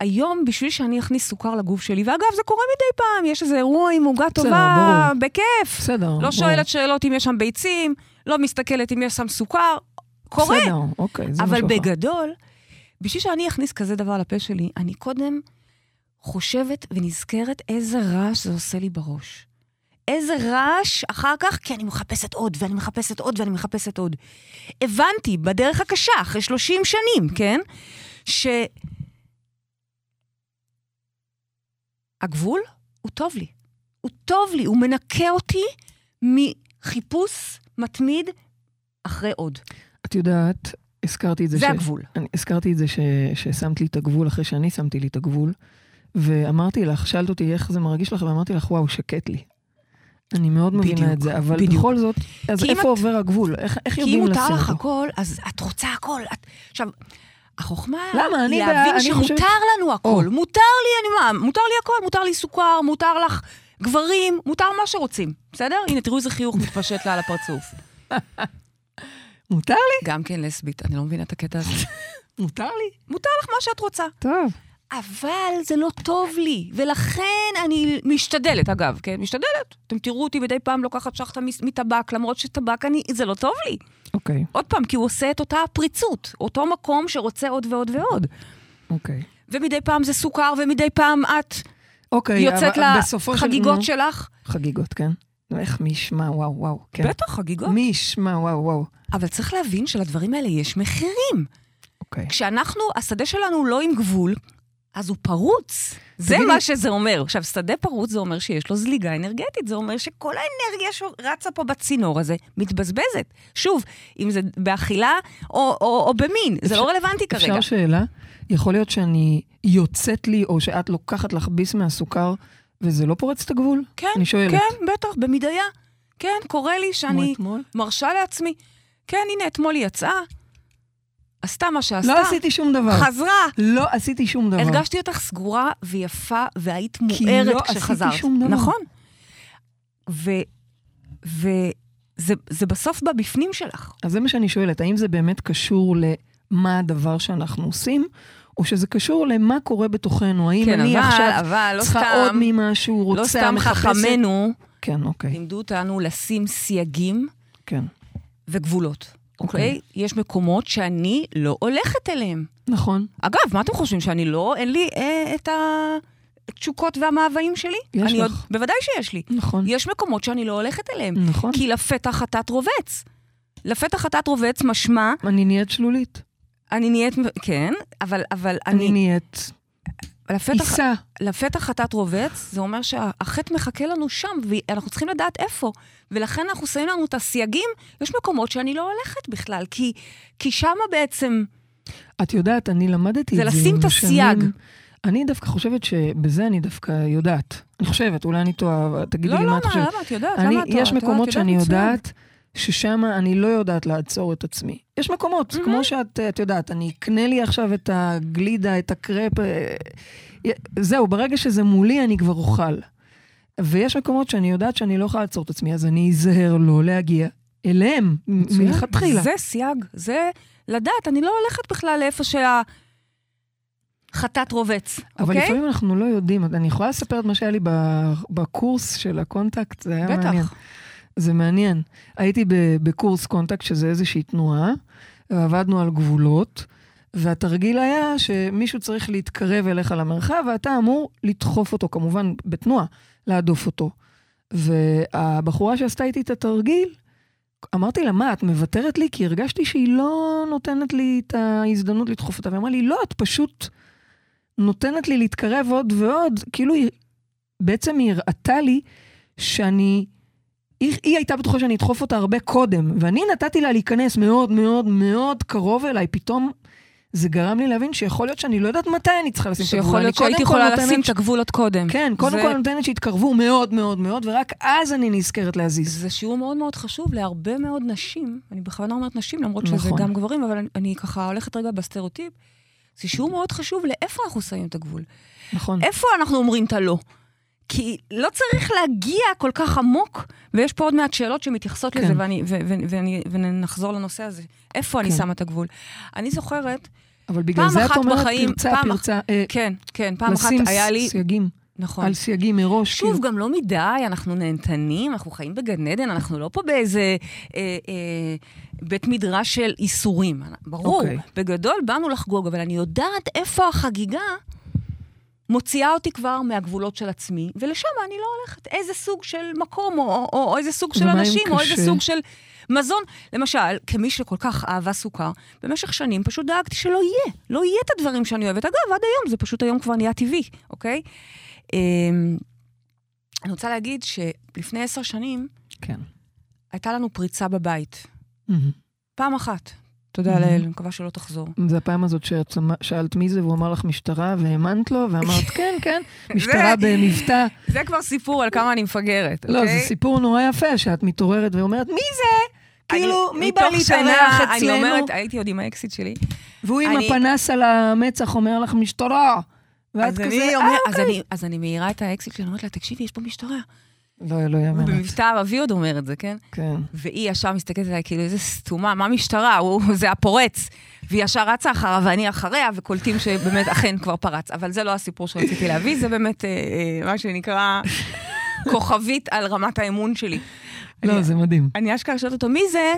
S3: היום, בשביל שאני אכניס סוכר לגוף שלי, ואגב, זה קורה מדי פעם, יש איזה אירוע עם עוגה
S2: בסדר,
S3: טובה,
S2: ברור.
S3: בכיף.
S2: בסדר. ברור.
S3: לא שואלת שאלות אם יש שם ביצים, לא מסתכלת אם יש שם סוכר, קורה.
S2: בסדר, אוקיי, זה
S3: אבל
S2: משהו אחר.
S3: בגדול, בשביל שאני אכניס כזה דבר לפה שלי, אני קודם חושבת ונזכרת איזה רעש זה עושה לי בראש. איזה רעש אחר כך, כי אני מחפשת עוד, ואני מחפשת עוד, ואני מחפשת עוד. הבנתי, בדרך הקשה, אחרי 30 שנים, כן? ש... הגבול הוא טוב לי. הוא טוב לי, הוא מנקה אותי מחיפוש מתמיד אחרי עוד.
S2: את יודעת, הזכרתי את זה.
S3: זה
S2: ש-
S3: הגבול.
S2: אני הזכרתי את זה ש... ששמת לי את הגבול אחרי שאני שמתי לי את הגבול, ואמרתי לך, שאלת אותי איך זה מרגיש לך, ואמרתי לך, וואו, שקט לי. אני מאוד מבינה
S3: בדיוק,
S2: את זה, אבל
S3: בדיוק.
S2: בכל זאת, אז
S3: כי אם
S2: איפה
S3: את-
S2: עובר הגבול? איך, איך
S3: כי אם
S2: יודעים לשים אותו?
S3: כאילו, מותר לך הכל, אז את רוצה הכל. את... עכשיו, החוכמה
S2: למה? אני
S3: היא
S2: בעד-
S3: להבין
S2: אני
S3: שמותר
S2: חושבת-
S3: לנו הכל. מותר לי, אני מה? מותר לי הכל, מותר לי סוכר, מותר לך גברים, מותר מה שרוצים, בסדר? הנה, תראו איזה חיוך מתפשט לה על
S2: [laughs]
S3: הפרצוף.
S2: מותר לי?
S3: גם כן לסבית, אני לא מבינה את הקטע הזה.
S2: מותר לי.
S3: מותר לך מה שאת רוצה.
S2: טוב.
S3: אבל זה לא טוב לי, ולכן אני משתדלת, אגב, כן? משתדלת. אתם תראו אותי מדי פעם לוקחת שחטה מס- מטבק, למרות שטבק אני, זה לא טוב לי.
S2: אוקיי,
S3: עוד פעם, כי הוא עושה את אותה הפריצות, אותו מקום שרוצה עוד ועוד ועוד.
S2: אוקיי.
S3: ומדי פעם זה סוכר, ומדי פעם את
S2: אוקיי,
S3: יוצאת
S2: אבל בסופו של-
S3: לחגיגות
S2: נו,
S3: שלך.
S2: חגיגות, כן. איך מי ישמע, וואו, וואו, כן.
S3: בטח, חגיגות.
S2: מי ישמע, וואו, וואו.
S3: אבל צריך להבין שלדברים האלה יש מחירים.
S2: אוקיי.
S3: כשאנחנו, השדה שלנו לא עם גבול, אז הוא פרוץ. זה
S2: תגידי-
S3: מה שזה אומר. עכשיו, שדה פרוץ זה אומר שיש לו זליגה אנרגטית, זה אומר שכל האנרגיה שרצה פה בצינור הזה מתבזבזת. שוב, אם זה באכילה או, או, או במין, זה
S2: אפשר-
S3: לא רלוונטי כרגע.
S2: אפשר שאלה? יכול להיות שאני יוצאת לי, או שאת לוקחת לך ביס מהסוכר, וזה לא פורץ את הגבול?
S3: כן,
S2: אני שואלת.
S3: כן, בטח, במדיה. כן, קורה לי
S2: כמו
S3: שאני
S2: אתמול?
S3: מרשה לעצמי. כן, הנה, אתמול היא יצאה, עשתה מה שעשתה,
S2: לא עשיתי שום דבר.
S3: חזרה.
S2: לא עשיתי שום דבר.
S3: הרגשתי אותך סגורה ויפה, והיית
S2: כי
S3: מוארת
S2: לא עשיתי
S3: כשחזרת.
S2: שום דבר.
S3: נכון. ו... ו... זה, זה בסוף בא בפנים שלך.
S2: אז זה מה שאני שואלת, האם זה באמת קשור למה הדבר שאנחנו עושים, או שזה קשור למה קורה בתוכנו? האם
S3: כן,
S2: אני
S3: אבל-
S2: עכשיו
S3: אבל לא
S2: צריכה
S3: סתם-
S2: עוד ממה שהוא רוצה,
S3: לא סתם
S2: מחפשת-
S3: חכמינו
S2: כן, אוקיי,
S3: לימדו אותנו לשים סייגים
S2: כן.
S3: וגבולות,
S2: אוקיי.
S3: אוקיי? יש מקומות שאני לא הולכת אליהם.
S2: נכון.
S3: אגב, מה אתם חושבים, שאני לא, אין לי אה, את התשוקות והמאוויים שלי?
S2: יש
S3: אני
S2: לך.
S3: עוד, בוודאי שיש לי.
S2: נכון.
S3: יש מקומות שאני לא הולכת אליהם.
S2: נכון.
S3: כי לפתע חטאת רובץ. לפתע חטאת רובץ משמע,
S2: אני נהיית שלולית.
S3: אני נהיית, כן, אבל, אבל
S2: אני
S3: אני,
S2: נהיית
S3: לפתע, ח-
S2: עיסה.
S3: לפתע חטאת רובץ, זה אומר שהחטא מחכה לנו שם, ואנחנו צריכים לדעת איפה. ולכן אנחנו שמים לנו את הסייגים, יש מקומות שאני לא הולכת בכלל, כי, כי שמה בעצם,
S2: את יודעת, אני למדתי
S3: זה
S2: את זה.
S3: לשים
S2: עם
S3: את
S2: השנים.
S3: הסייג.
S2: אני דווקא חושבת שבזה אני דווקא יודעת. אני חושבת, אולי אני טועה, אבל תגידי
S3: לא,
S2: לי
S3: לא,
S2: מה
S3: מה,
S2: את חושבת.
S3: למה את יודעת?
S2: אני,
S3: למה את
S2: יש
S3: את יודעת,
S2: מקומות
S3: את
S2: שאני
S3: מצוין.
S2: יודעת ששם אני לא יודעת לעצור את עצמי. יש מקומות, mm-hmm. כמו שאת את יודעת, אני אקנה לי עכשיו את הגלידה, את הקרפ, אה, אה, זהו, ברגע שזה מולי אני כבר אוכל. ויש מקומות שאני יודעת שאני לא יכולה לעצור את עצמי, אז אני אזהר לא להגיע אליהם מ-
S3: מצוין.
S2: מלכתחילה.
S3: זה סייג, זה לדעת, אני לא הולכת בכלל לאיפה שהחטאת רובץ,
S2: אבל
S3: אוקיי?
S2: לפעמים אנחנו לא יודעים, אני יכולה לספר את מה שהיה לי ב- בקורס של הקונטקט, זה היה מעניין.
S3: בטח.
S2: זה מעניין. הייתי ב- בקורס קונטקט, שזה איזושהי תנועה, ועבדנו על גבולות, והתרגיל היה שמישהו צריך להתקרב אליך למרחב, ואתה אמור לדחוף אותו, כמובן בתנועה, להדוף אותו. והבחורה שעשתה איתי את התרגיל, אמרתי לה, מה, את מוותרת לי? כי הרגשתי שהיא לא נותנת לי את ההזדמנות לדחוף אותה. והיא אמרה לי, לא, את פשוט נותנת לי להתקרב עוד ועוד. כאילו, היא- בעצם היא הראתה לי שאני... היא, היא הייתה בטוחה שאני אדחוף אותה הרבה קודם, ואני נתתי לה להיכנס מאוד מאוד מאוד קרוב אליי. פתאום זה גרם לי להבין שיכול להיות שאני לא יודעת מתי אני צריכה לשים את הגבול.
S3: שיכול
S2: אני
S3: להיות
S2: קודם
S3: שהייתי
S2: כל
S3: יכולה
S2: נותנת
S3: לשים את הגבול עוד קודם.
S2: כן, קודם
S3: זה-
S2: כל נותנת שיתקרבו מאוד מאוד מאוד, ורק אז אני נזכרת להזיז.
S3: זה שיעור מאוד מאוד חשוב להרבה מאוד נשים, אני בכוונה אומרת נשים, למרות שזה
S2: נכון.
S3: גם גברים, אבל אני, אני ככה הולכת רגע בסטריאוטיפ, זה שיעור מאוד חשוב לאיפה אנחנו שמים את הגבול.
S2: נכון.
S3: איפה אנחנו אומרים את הלא? כי לא צריך להגיע כל כך עמוק, ויש פה עוד מעט שאלות שמתייחסות
S2: כן.
S3: לזה, ואני, ו, ו, ואני, ונחזור לנושא הזה. איפה אני
S2: כן.
S3: שמה את הגבול? אני זוכרת,
S2: אבל בגלל
S3: פעם
S2: זה את
S3: אחת
S2: אומרת
S3: בחיים,
S2: פרצה,
S3: פעם אח-
S2: פרצה, אה,
S3: כן, כן, פעם אחת
S2: לשים
S3: היה לי...
S2: סייגים,
S3: נכון.
S2: על סייגים מראש.
S3: שוב,
S2: כאילו.
S3: גם לא מדי, אנחנו נהנתנים, אנחנו חיים בגן עדן, אנחנו לא פה באיזה אה, אה, בית מדרש של איסורים. ברור,
S2: אוקיי.
S3: בגדול באנו לחגוג, אבל אני יודעת איפה החגיגה מוציאה אותי כבר מהגבולות של עצמי, ולשם אני לא הולכת. איזה סוג של מקום, או, או, או איזה סוג של
S2: ומה אם
S3: אנשים, או
S2: קשה?
S3: איזה סוג של מזון. למשל, כמי שכל כך אהבה סוכר, במשך שנים פשוט דאגתי שלא יהיה, לא יהיה את הדברים שאני אוהבת. אגב, עד היום, זה פשוט היום כבר נהיה טבעי, אוקיי? אמ, אני רוצה להגיד שלפני עשר שנים
S2: כן.
S3: הייתה לנו פריצה בבית.
S2: Mhm.
S3: פעם אחת. תודה
S2: Mhm.
S3: לאל, אני מקווה שלא תחזור.
S2: זה הפעם הזאת שאת אמ- שאלת מי זה, והוא אמר לך משטרה, והאמנת לו, [laughs] ואמרת כן, כן, משטרה במבטא.
S3: זה כבר סיפור על כמה אני מפגרת, אוקיי?
S2: לא, זה סיפור נורא יפה, שאת מתעוררת ואומרת, מי זה? כאילו, מי בא להתארח
S3: אני
S2: אצלנו?
S3: אומרת, הייתי עוד עם האקסיט שלי.
S2: והוא עם
S3: אני-
S2: הפנס על המצח אומר לך, משטרה. ואת
S3: אז אני
S2: כזה,
S3: אומר-
S2: אה,
S3: אז אני- אז אני מעירה את האקסיט שלי, אני אומרת לה, תקשיבי, יש פה משטרה.
S2: לא, לא
S3: הוא
S2: יאמן.
S3: במבטא ערבי עוד אומר את זה, כן?
S2: כן.
S3: והיא ישר מסתכלת עליי, כאילו, איזה סתומה, מה משטרה? הוא, זה הפורץ. והיא ישר רצה אחריו ואני אחריה, וקולטים שבאמת אכן כבר פרץ. אבל זה לא הסיפור שרציתי להביא, זה באמת אה, אה, מה שנקרא
S2: [laughs]
S3: כוכבית על רמת האמון שלי.
S2: לא,
S3: אני-
S2: זה מדהים.
S3: אני אשכרה שואלת אותו, מי זה?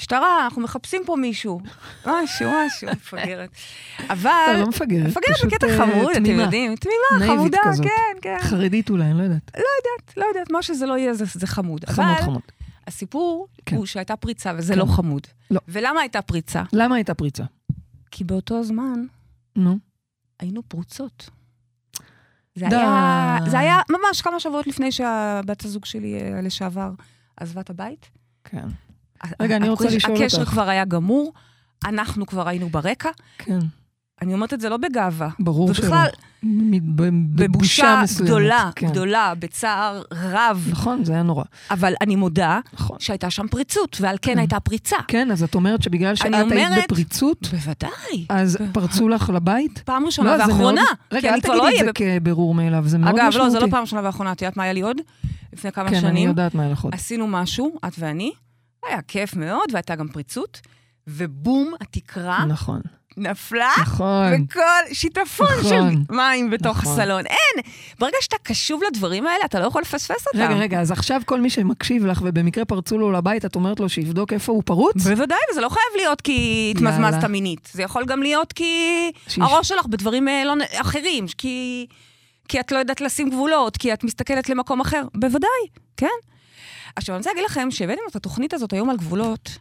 S3: משטרה, אנחנו מחפשים פה מישהו. משהו,
S2: [laughs]
S3: משהו, מפגרת. אבל...
S2: לא, לא מפגרת,
S3: מפגרת
S2: פשוט,
S3: בקטע
S2: אה,
S3: חמוד, אתם
S2: תמימה.
S3: יודעים. תמימה,
S2: נאיבית
S3: חמודה,
S2: כזאת.
S3: כן, כן.
S2: חרדית אולי, אני לא יודעת.
S3: לא יודעת, לא יודעת, מה שזה לא יהיה, זה, זה חמוד.
S2: חמוד,
S3: אבל
S2: חמוד.
S3: הסיפור
S2: כן.
S3: כן. הוא שהייתה פריצה, וזה
S2: כן.
S3: לא חמוד.
S2: לא.
S3: ולמה הייתה פריצה?
S2: למה הייתה פריצה?
S3: כי באותו זמן
S2: נו.
S3: היינו פרוצות. זה
S2: די.
S3: היה, זה היה ממש כמה שבועות לפני שהבת הזוג שלי אה, לשעבר עזבה את הבית.
S2: כן.
S3: ה-
S2: רגע, אני
S3: הקשר-
S2: רוצה לשאול
S3: הקשר
S2: אותך.
S3: כבר היה גמור, אנחנו כבר היינו ברקע.
S2: כן.
S3: אני אומרת את זה לא בגאווה.
S2: ברור שלא.
S3: ובכלל,
S2: מ- ב-
S3: בבושה
S2: מסוימת,
S3: גדולה,
S2: כן.
S3: גדולה, בצער רב.
S2: נכון, זה היה נורא.
S3: אבל אני מודה
S2: נכון.
S3: שהייתה שם פריצות, ועל כן
S2: כן.
S3: הייתה פריצה.
S2: כן, אז את אומרת שבגלל שאת היית
S3: אומרת- כן.
S2: בפריצות,
S3: בוודאי.
S2: אז פרצו לך לבית?
S3: פעם ראשונה
S2: לא, זה מאוד...
S3: ואחרונה. כי
S2: רגע, אל
S3: אני כבר לא
S2: תגידי את
S3: אהיה
S2: זה כברור מאליו, זה מאוד
S3: אגב,
S2: משמעותי.
S3: לא, זה לא פעם ראשונה ואחרונה, את יודעת מה היה לי עוד? לפני כמה
S2: כן, אני
S3: שנים.
S2: יודעת מה ההלכות.
S3: עשינו משהו, את ואני, היה כיף מאוד, והייתה גם פריצות, ובום, התקרה
S2: נכון,
S3: נפלה,
S2: נכון.
S3: וכל שיטפון
S2: נכון.
S3: של מים בתוך
S2: נכון.
S3: הסלון. אין! ברגע שאתה קשוב לדברים האלה, אתה לא יכול לפספס אותם.
S2: רגע, רגע, אז עכשיו כל מי שמקשיב לך ובמקרה פרצו לו לבית, את אומרת לו שיבדוק איפה הוא פרוץ?
S3: בוודאי, וזה לא חייב להיות כי
S2: יאללה.
S3: התמזמזת מינית. זה יכול גם להיות כי
S2: שיש-
S3: הראש שלך בדברים אה, לא... נ- אחרים, כי... כי את לא יודעת לשים גבולות, כי את מסתכלת למקום אחר. בוודאי, כן. עכשיו, אני רוצה להגיד לכם שהבאנו את התוכנית הזאת היום על גבולות,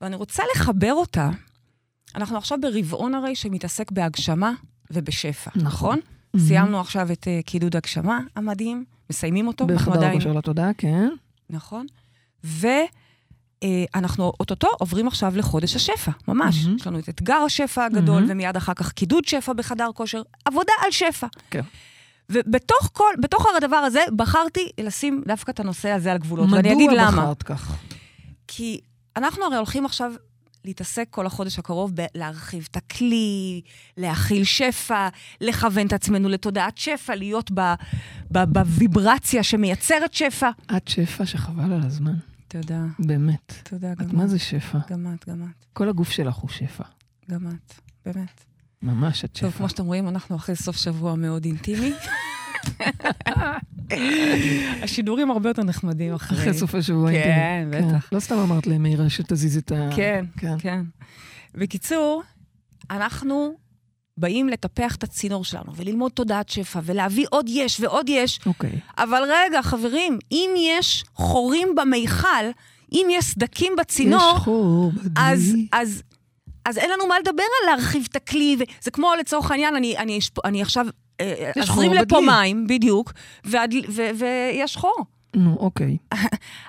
S3: ואני רוצה לחבר אותה. אנחנו עכשיו ברבעון הרי שמתעסק בהגשמה ובשפע,
S2: נכון.
S3: נכון? סיימנו עכשיו את אה, קידוד הגשמה המדהים, מסיימים אותו, אנחנו
S2: בחדר
S3: עדיין...
S2: הכושר לתודעה, כן.
S3: נכון. ואנחנו אוטוטו עוברים עכשיו לחודש השפע,
S2: מהמם.
S3: ממש. Mm-hmm. יש לנו את אתגר השפע הגדול,
S2: מהמם.
S3: mm-hmm. ומיד אחר כך קידוד שפע בחדר כושר, עבודה על שפע.
S2: כן.
S3: ובתוך כל, בתוך הדבר הזה, בחרתי לשים דווקא את הנושא הזה על גבולות. ואני אגיד
S2: מדוע
S3: למה.
S2: בחרת כך?
S3: כי אנחנו הרי הולכים עכשיו להתעסק כל החודש הקרוב בלהרחיב את הכלי, להכיל שפע, לכוון את עצמנו לתודעת שפע, להיות ב, ב, בוויברציה שמייצרת שפע.
S2: את שפע שחבל על הזמן,
S3: תודה.
S2: באמת.
S3: תודה,
S2: את מה זה שפע?
S3: גם את, גם את,
S2: כל הגוף שלך הוא שפע.
S3: גם את, באמת.
S2: ממש את
S3: טוב,
S2: שפע.
S3: כמו שאתם רואים, אנחנו אחרי סוף שבוע מאוד אינטימי. [laughs] השידורים הרבה יותר נחמדים אחרי.
S2: אחרי סוף השבוע
S3: כן,
S2: אינטימי.
S3: בטח.
S2: לא סתם אמרת למירה שתזיז את ה...
S3: כן,
S2: כן.
S3: כן. בקיצור, אנחנו באים לטפח את הצינור שלנו וללמוד תודעת שפע ולהביא עוד יש ועוד יש,
S2: אוקיי.
S3: אבל רגע, חברים, אם יש חורים במיכל, אם יש סדקים בצינור,
S2: יש חור בדי.
S3: אז, אז, אז אין לנו מה לדבר על להרחיב את הכלי, ו- זה כמו לצורך העניין, אני, אני, אשפ- אני עכשיו אה,
S2: יש
S3: אזרים
S2: חור
S3: לפה
S2: בדלי.
S3: מים, בדיוק, והדל- ו- ויש חור.
S2: נו, אוקיי.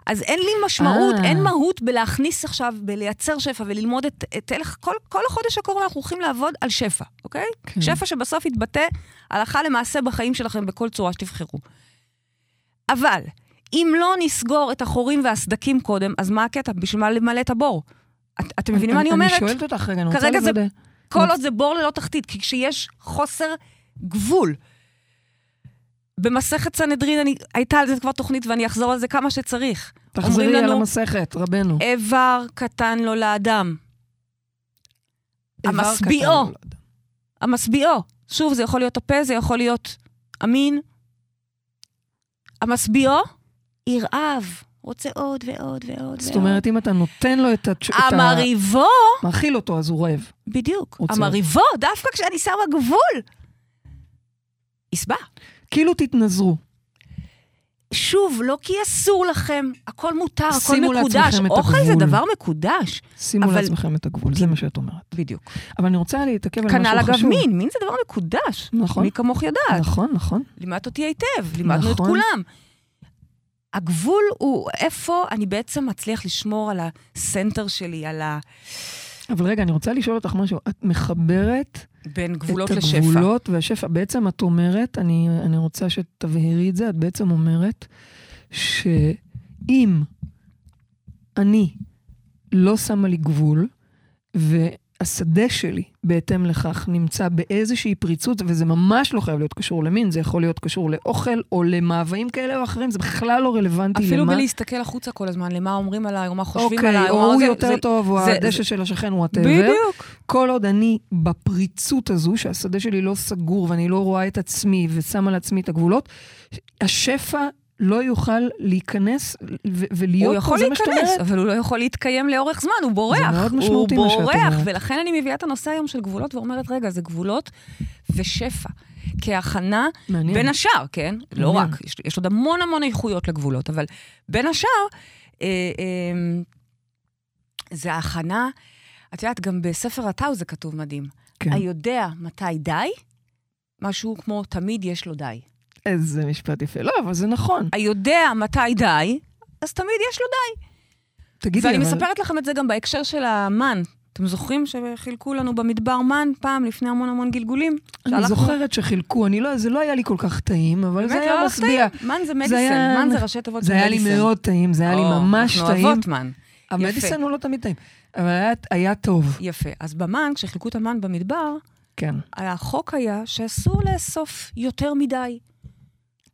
S3: אז אין לי משמעות,
S2: אה.
S3: אין מהות בלהכניס עכשיו, בלייצר שפע וללמוד את, את הלך, כל, כל החודש הקרוב אנחנו הולכים לעבוד על שפע, אוקיי?
S2: כן.
S3: שפע שבסוף יתבטא הלכה למעשה בחיים שלכם בכל צורה שתבחרו. אבל, אם לא נסגור את החורים והסדקים קודם, אז מה הקטע? בשביל מה למלא את הבור? את, אתם מבינים מה אני אומרת?
S2: אני שואלת אותך רגע, אני רוצה
S3: כרגע זה-
S2: לוודא.
S3: כל עוד זה בור ללא תחתית, כי כשיש חוסר גבול. במסכת סנהדרין, אני, הייתה על זה כבר תוכנית ואני אחזור על זה כמה שצריך.
S2: תחזרי
S3: אומרים
S2: על
S3: לנו- אה,
S2: המסכת, רבנו.
S3: איבר קטן לו לאדם,
S2: איבר
S3: המשביעו.
S2: קטן נולד.
S3: המשביעו. שוב, זה יכול להיות הפה, זה יכול להיות המין. המשביעו, ירעב, רוצה עוד ועוד ועוד ועוד.
S2: זאת אומרת, אם אתה נותן לו את התש- את ה...
S3: המריבו,
S2: מאכיל אותו, אז הוא רעב.
S3: בדיוק,
S2: רוצה.
S3: המריבו, דווקא כשאני שמה גבול, יסבע.
S2: כאילו תתנזרו.
S3: שוב, לא כי אסור לכם, הכל מותר, הכל
S2: שימו
S3: מקודש.
S2: לעצמכם את
S3: אוכל זה
S2: הגבול.
S3: דבר מקודש.
S2: שימו
S3: אבל-
S2: לעצמכם את הגבול, זה מה שאת אומרת.
S3: בדיוק.
S2: אבל אני רוצה להתעכב על משהו חשוב.
S3: כנ"ל אגב מין, מין זה דבר מקודש.
S2: נכון.
S3: מי כמוך יודעת.
S2: נכון, נכון.
S3: לימדת אותי היטב, לימדנו את
S2: נכון.
S3: כולם. הגבול הוא איפה אני בעצם מצליח לשמור על הסנטר שלי, על ה...
S2: אבל רגע, אני רוצה לשאול אותך משהו. את מחברת
S3: בין גבולות
S2: את
S3: לשפע.
S2: הגבולות והשפע. בעצם את אומרת, אני, אני רוצה שתבהירי את זה, את בעצם אומרת שאם אני לא שמה לי גבול, והשדה שלי בהתאם לכך נמצא באיזושהי פריצות, וזה ממש לא חייב להיות קשור למין, זה יכול להיות קשור לאוכל או למאוויים כאלה או אחרים, זה בכלל לא רלוונטי
S3: אפילו
S2: למה.
S3: בלהסתכל החוצה כל הזמן, למה אומרים עליי, או מה חושבים
S2: אוקיי,
S3: עליי.
S2: או
S3: מה
S2: הוא
S3: זה-
S2: יותר
S3: זה-
S2: טוב, או
S3: זה-
S2: הדשא
S3: זה-
S2: של השכן, וואטאבר.
S3: בדיוק.
S2: כל עוד אני בפריצות הזו, שהשדה שלי לא סגור ואני לא רואה את עצמי ושמה לעצמי את הגבולות, השפע לא יוכל להיכנס ו- ולהיות
S3: הוא
S2: פה,
S3: יכול
S2: זה מה שאת
S3: להיכנס,
S2: אומרת?
S3: אבל הוא לא יכול להתקיים לאורך זמן, הוא בורח.
S2: מאוד
S3: הוא
S2: משמעותי מה שאת
S3: בורח,
S2: אומרת.
S3: ולכן אני מביאה את הנושא היום של גבולות ואומרת, רגע, זה גבולות ושפע. כהכנה
S2: מעניין.
S3: בין השאר, כן? לא
S2: מעניין.
S3: רק, יש, יש עוד המון המון איכויות לגבולות, אבל בין השאר, אה, אה, זה ההכנה, את יודעת, גם בספר הטאו זה כתוב מדהים.
S2: כן.
S3: היודע מתי די, משהו כמו תמיד יש לו די.
S2: איזה משפט יפה. לא, אבל זה נכון.
S3: היודע מתי די, אז תמיד יש לו די.
S2: תגידי,
S3: ואני
S2: אבל...
S3: מספרת לכם את זה גם בהקשר של המן. אתם זוכרים שחילקו לנו במדבר מן פעם לפני המון המון גלגולים?
S2: אני
S3: שהלכנו-
S2: זוכרת שחילקו, אני לא, זה לא היה לי כל כך טעים, אבל זה
S3: באמת,
S2: היה
S3: לא הלך
S2: משביע.
S3: טעים. מן זה
S2: היה-
S3: מדיסן, מן זה ראשי תיבות של
S2: זה היה לי
S3: מדיסן.
S2: מאוד טעים, זה היה לי
S3: או,
S2: ממש
S3: אנחנו
S2: טעים.
S3: אוהבות מן.
S2: המדיסן הוא לא תמיד טעים, אבל היה- היה טוב,
S3: יפה. אז במן, כשחילקו את המן במדבר,
S2: כן.
S3: החוק היה שאסור לאסוף יותר מדי.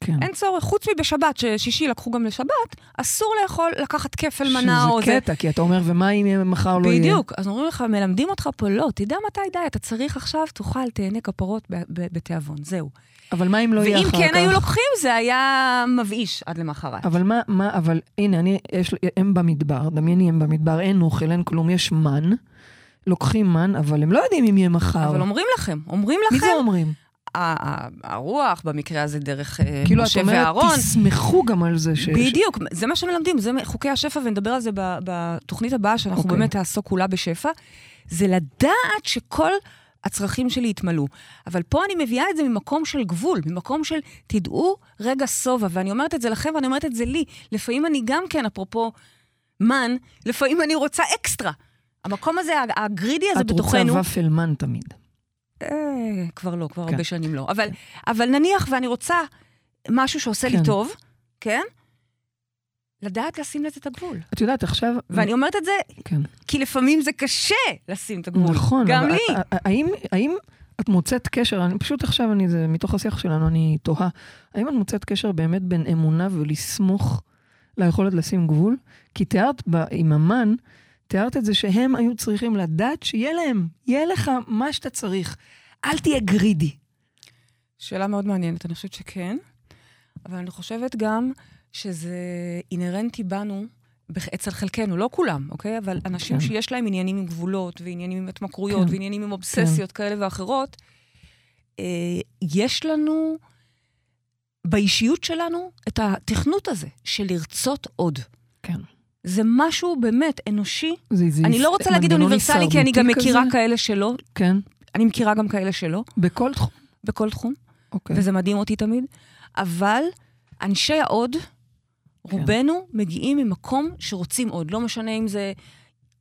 S2: כן.
S3: אין צורך, חוץ מבשבת, ששישי לקחו גם לשבת, אסור לאכול לקחת כפל מנה או
S2: שזה
S3: זה.
S2: קטע, כי אתה אומר, ומה אם מחר לא יהיה?
S3: בדיוק, אז אומרים לך, מלמדים אותך פה, לא, תדע מתי די, אתה צריך עכשיו, תאכל, תהנה כפרות ב- ב- בתיאבון, זהו.
S2: אבל מה אם לא יהיה
S3: ואם
S2: אחר כך?
S3: כן היו לוקחים, זה היה מבאיש עד למחרת.
S2: אבל מה, מה, אבל הנה, אני, יש, הם במדבר, דמייני הם במדבר, אין אוכל, אין כלום, יש מן. לוקחים מן, אבל הם לא יודעים אם יהיה מחר.
S3: אבל אומרים לכם, אומרים
S2: מי
S3: לכם, אה,
S2: זה אומרים?
S3: ה- ה- הרוח, במקרה הזה דרך אה,
S2: כאילו, את
S3: משה
S2: אומרת,
S3: ואהרון.
S2: תסמכו גם על זה ש...
S3: בדיוק, זה מה שמלמדים, זה חוקי השפע, ונדבר על זה ב- בתוכנית הבאה, שאנחנו
S2: אוקיי.
S3: באמת נעסוק כולה בשפע. זה לדעת שכל הצרכים שלי יתמלאו. אבל פה אני מביאה את זה ממקום של גבול, ממקום של תדעו רגע שובע, ואני אומרת את זה לכם ואני אומרת את זה לי. לפעמים אני גם כן, אפרופו מן, לפעמים אני רוצה אקסטרה. המקום הזה, הגרידי הזה
S2: את רוצה
S3: בתוכנו...
S2: ופל מן תמיד.
S3: אה, כבר לא, כבר
S2: כן.
S3: הרבה שנים לא. אבל, אבל נניח ואני רוצה משהו שעושה
S2: כן.
S3: לי טוב, כן? לדעת לשים לזה את הגבול.
S2: את יודעת, עכשיו...
S3: ואני אומרת את זה
S2: כן.
S3: כי לפעמים זה קשה לשים את הגבול.
S2: נכון.
S3: גם
S2: אבל
S3: לי.
S2: ה- ה- האם, האם את מוצאת קשר, אני פשוט עכשיו, אני, זה מתוך השיח שלנו, אני תוהה, האם את מוצאת קשר באמת בין אמונה ולסמוך ליכולת לשים גבול? כי תיארת ב, עם המן, תיארת את זה שהם היו צריכים לדעת שיהיה להם, יהיה לך מה שאתה צריך. אל תהיה גרידי.
S3: שאלה מאוד מעניינת, אני חושבת שכן, אבל אני חושבת גם שזה אינהרנטי בנו, בכ- אצל חלקנו, לא כולם, אוקיי? אבל אנשים
S2: כן.
S3: שיש להם עניינים עם גבולות, ועניינים עם התמכרויות,
S2: כן.
S3: ועניינים עם אובססיות כאלה ואחרות, אה, יש לנו באישיות שלנו את התכנות הזה של לרצות עוד.
S2: כן.
S3: זה משהו באמת אנושי.
S2: זה, זה
S3: אני לא רוצה להגיד אוניברסלי, כי אני גם מכירה
S2: כזה.
S3: כאלה שלא.
S2: כן,
S3: אני מכירה גם כאלה שלא,
S2: בכל תחום.
S3: בכל תחום.
S2: אוקיי.
S3: וזה מדהים אותי תמיד, אבל אנשי העוד, רובנו מגיעים ממקום שרוצים עוד, לא משנה אם זה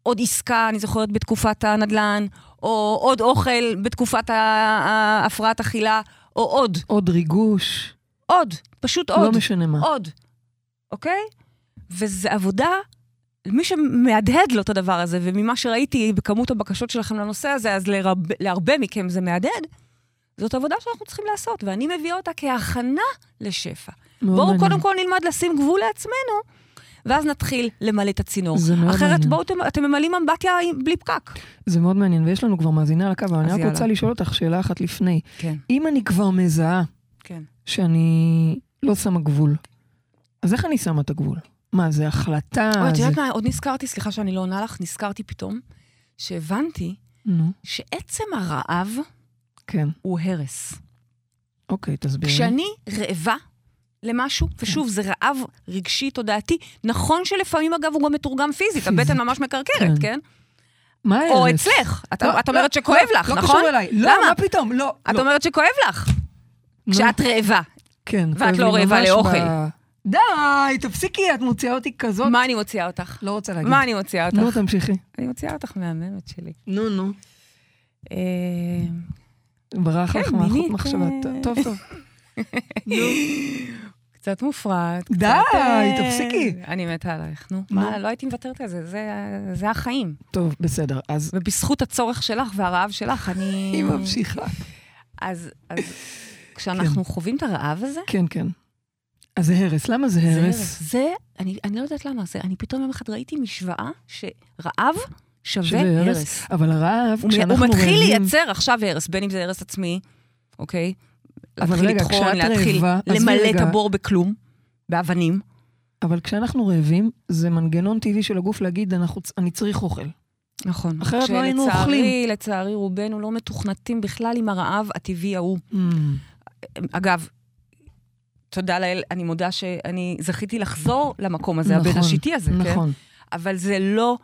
S3: עוד עסקה, אני זוכרת בתקופת הנדל"ן, או עוד אוכל בתקופת ה- ה- ההפרעת אכילה, או עוד,
S2: עוד ריגוש,
S3: עוד, פשוט
S2: לא
S3: עוד,
S2: משנה מה.
S3: עוד, אוקיי? וזו עבודה, מי שמהדהד לו את הדבר הזה, וממה שראיתי בכמות הבקשות שלכם לנושא הזה, אז לרב, להרבה מכם זה מהדהד, זאת עבודה שאנחנו צריכים לעשות, ואני מביאה אותה כהכנה לשפע.
S2: מאוד
S3: בואו
S2: לא מעניין.
S3: קודם כל נלמד לשים גבול לעצמנו, ואז נתחיל למלא את הצינור.
S2: זה מאוד
S3: אחרת
S2: מעניין.
S3: בואו, אתם, אתם ממלאים אמבטיה עם- בלי פקק.
S2: זה מאוד מעניין, ויש לנו כבר מאזינה על הקו, אבל אני
S3: אז
S2: רק
S3: יאללה.
S2: רוצה לשאול אותך שאלה אחת לפני.
S3: כן,
S2: אם אני כבר מזהה
S3: כן.
S2: שאני לא שמה גבול, אז איך אני שמה את הגבול? מה, זה החלטה?
S3: אוי, את
S2: אה, זה...
S3: יודעת מה, עוד נזכרתי, סליחה שאני לא עונה לך, נזכרתי פתאום, שהבנתי
S2: נו,
S3: שעצם הרעב
S2: כן.
S3: הוא הרס.
S2: אוקיי, תסבירי.
S3: כשאני רעבה למשהו,
S2: כן.
S3: ושוב, זה רעב רגשי, תודעתי, נכון שלפעמים, אגב, הוא גם מתורגם פיזית,
S2: פיזית. [laughs]
S3: הבטן ממש מקרקרת,
S2: כן.
S3: כן?
S2: מה
S3: או
S2: ההרס?
S3: אצלך, את-
S2: לא,
S3: את אומרת
S2: לא,
S3: שכואב
S2: לא,
S3: לך,
S2: לא
S3: נכון?
S2: קשור אליי. לא,
S3: למה?
S2: מה פתאום? לא.
S3: את
S2: לא.
S3: אומרת שכואב לך,
S2: נו,
S3: כשאת רעבה.
S2: כן,
S3: ואת
S2: כואב
S3: לא
S2: לי
S3: רעבה
S2: ממש
S3: לאוכל.
S2: ב- די, תפסיקי, את מוציאה אותי כזאת.
S3: מה אני מוציאה אותך?
S2: לא רוצה להגיד.
S3: מה אני מוציאה אותך?
S2: נו, תמשיכי.
S3: אני מוציאה אותך מהממת שלי.
S2: נו, נו.
S3: אה,
S2: ברח
S3: כן,
S2: לך מה-
S3: מינית,
S2: מחשבה.
S3: אה.
S2: טוב,
S3: [laughs]
S2: טוב.
S3: קצת מופרעת.
S2: די,
S3: קצת, אה,
S2: תפסיקי.
S3: אני מתה עלייך, נו.
S2: נו.
S3: מה, לא הייתי מוותרת על זה, זה, זה החיים.
S2: טוב, בסדר. אז
S3: ובזכות הצורך שלך והרעב שלך, אני...
S2: היא ממשיכה.
S3: אז,
S2: [coughs]
S3: אז כשאנחנו חווים את הרעב הזה,
S2: כן, כן. אז זה הרס. למה זה
S3: זה
S2: הרס?
S3: הרס. זה, אני, אני לא יודעת למה, זה, אני פתאום יום אחד ראיתי משוואה שרעב שווה
S2: שווה הרס.
S3: הרס.
S2: אבל הרעב,
S3: הוא, מ-
S2: כשאנחנו
S3: הוא מתחיל
S2: רעבים-
S3: לייצר עכשיו הרס, בין אם זה הרס עצמי, אוקיי?
S2: אבל
S3: להתחיל
S2: רגע,
S3: לטחון,
S2: כשאת
S3: להתחיל
S2: רעבה, עזבי
S3: למלא את
S2: רגע.
S3: הבור בכלום, באבנים.
S2: אבל כשאנחנו רעבים, זה מנגנון טבעי של הגוף להגיד, אנחנו, צ- אני צריך אוכל.
S3: נכון.
S2: אחרת לא היינו
S3: כשלצערי-
S2: אוכלים.
S3: לצערי, רובנו לא מתוכנתים בכלל עם הרעב הטבעי ההוא. אגב, תודה לאל, אני מודה שאני זכיתי לחזור למקום הזה,
S2: נכון,
S3: הבראשיתי הזה, כן?
S2: נכון.
S3: אבל זה לא...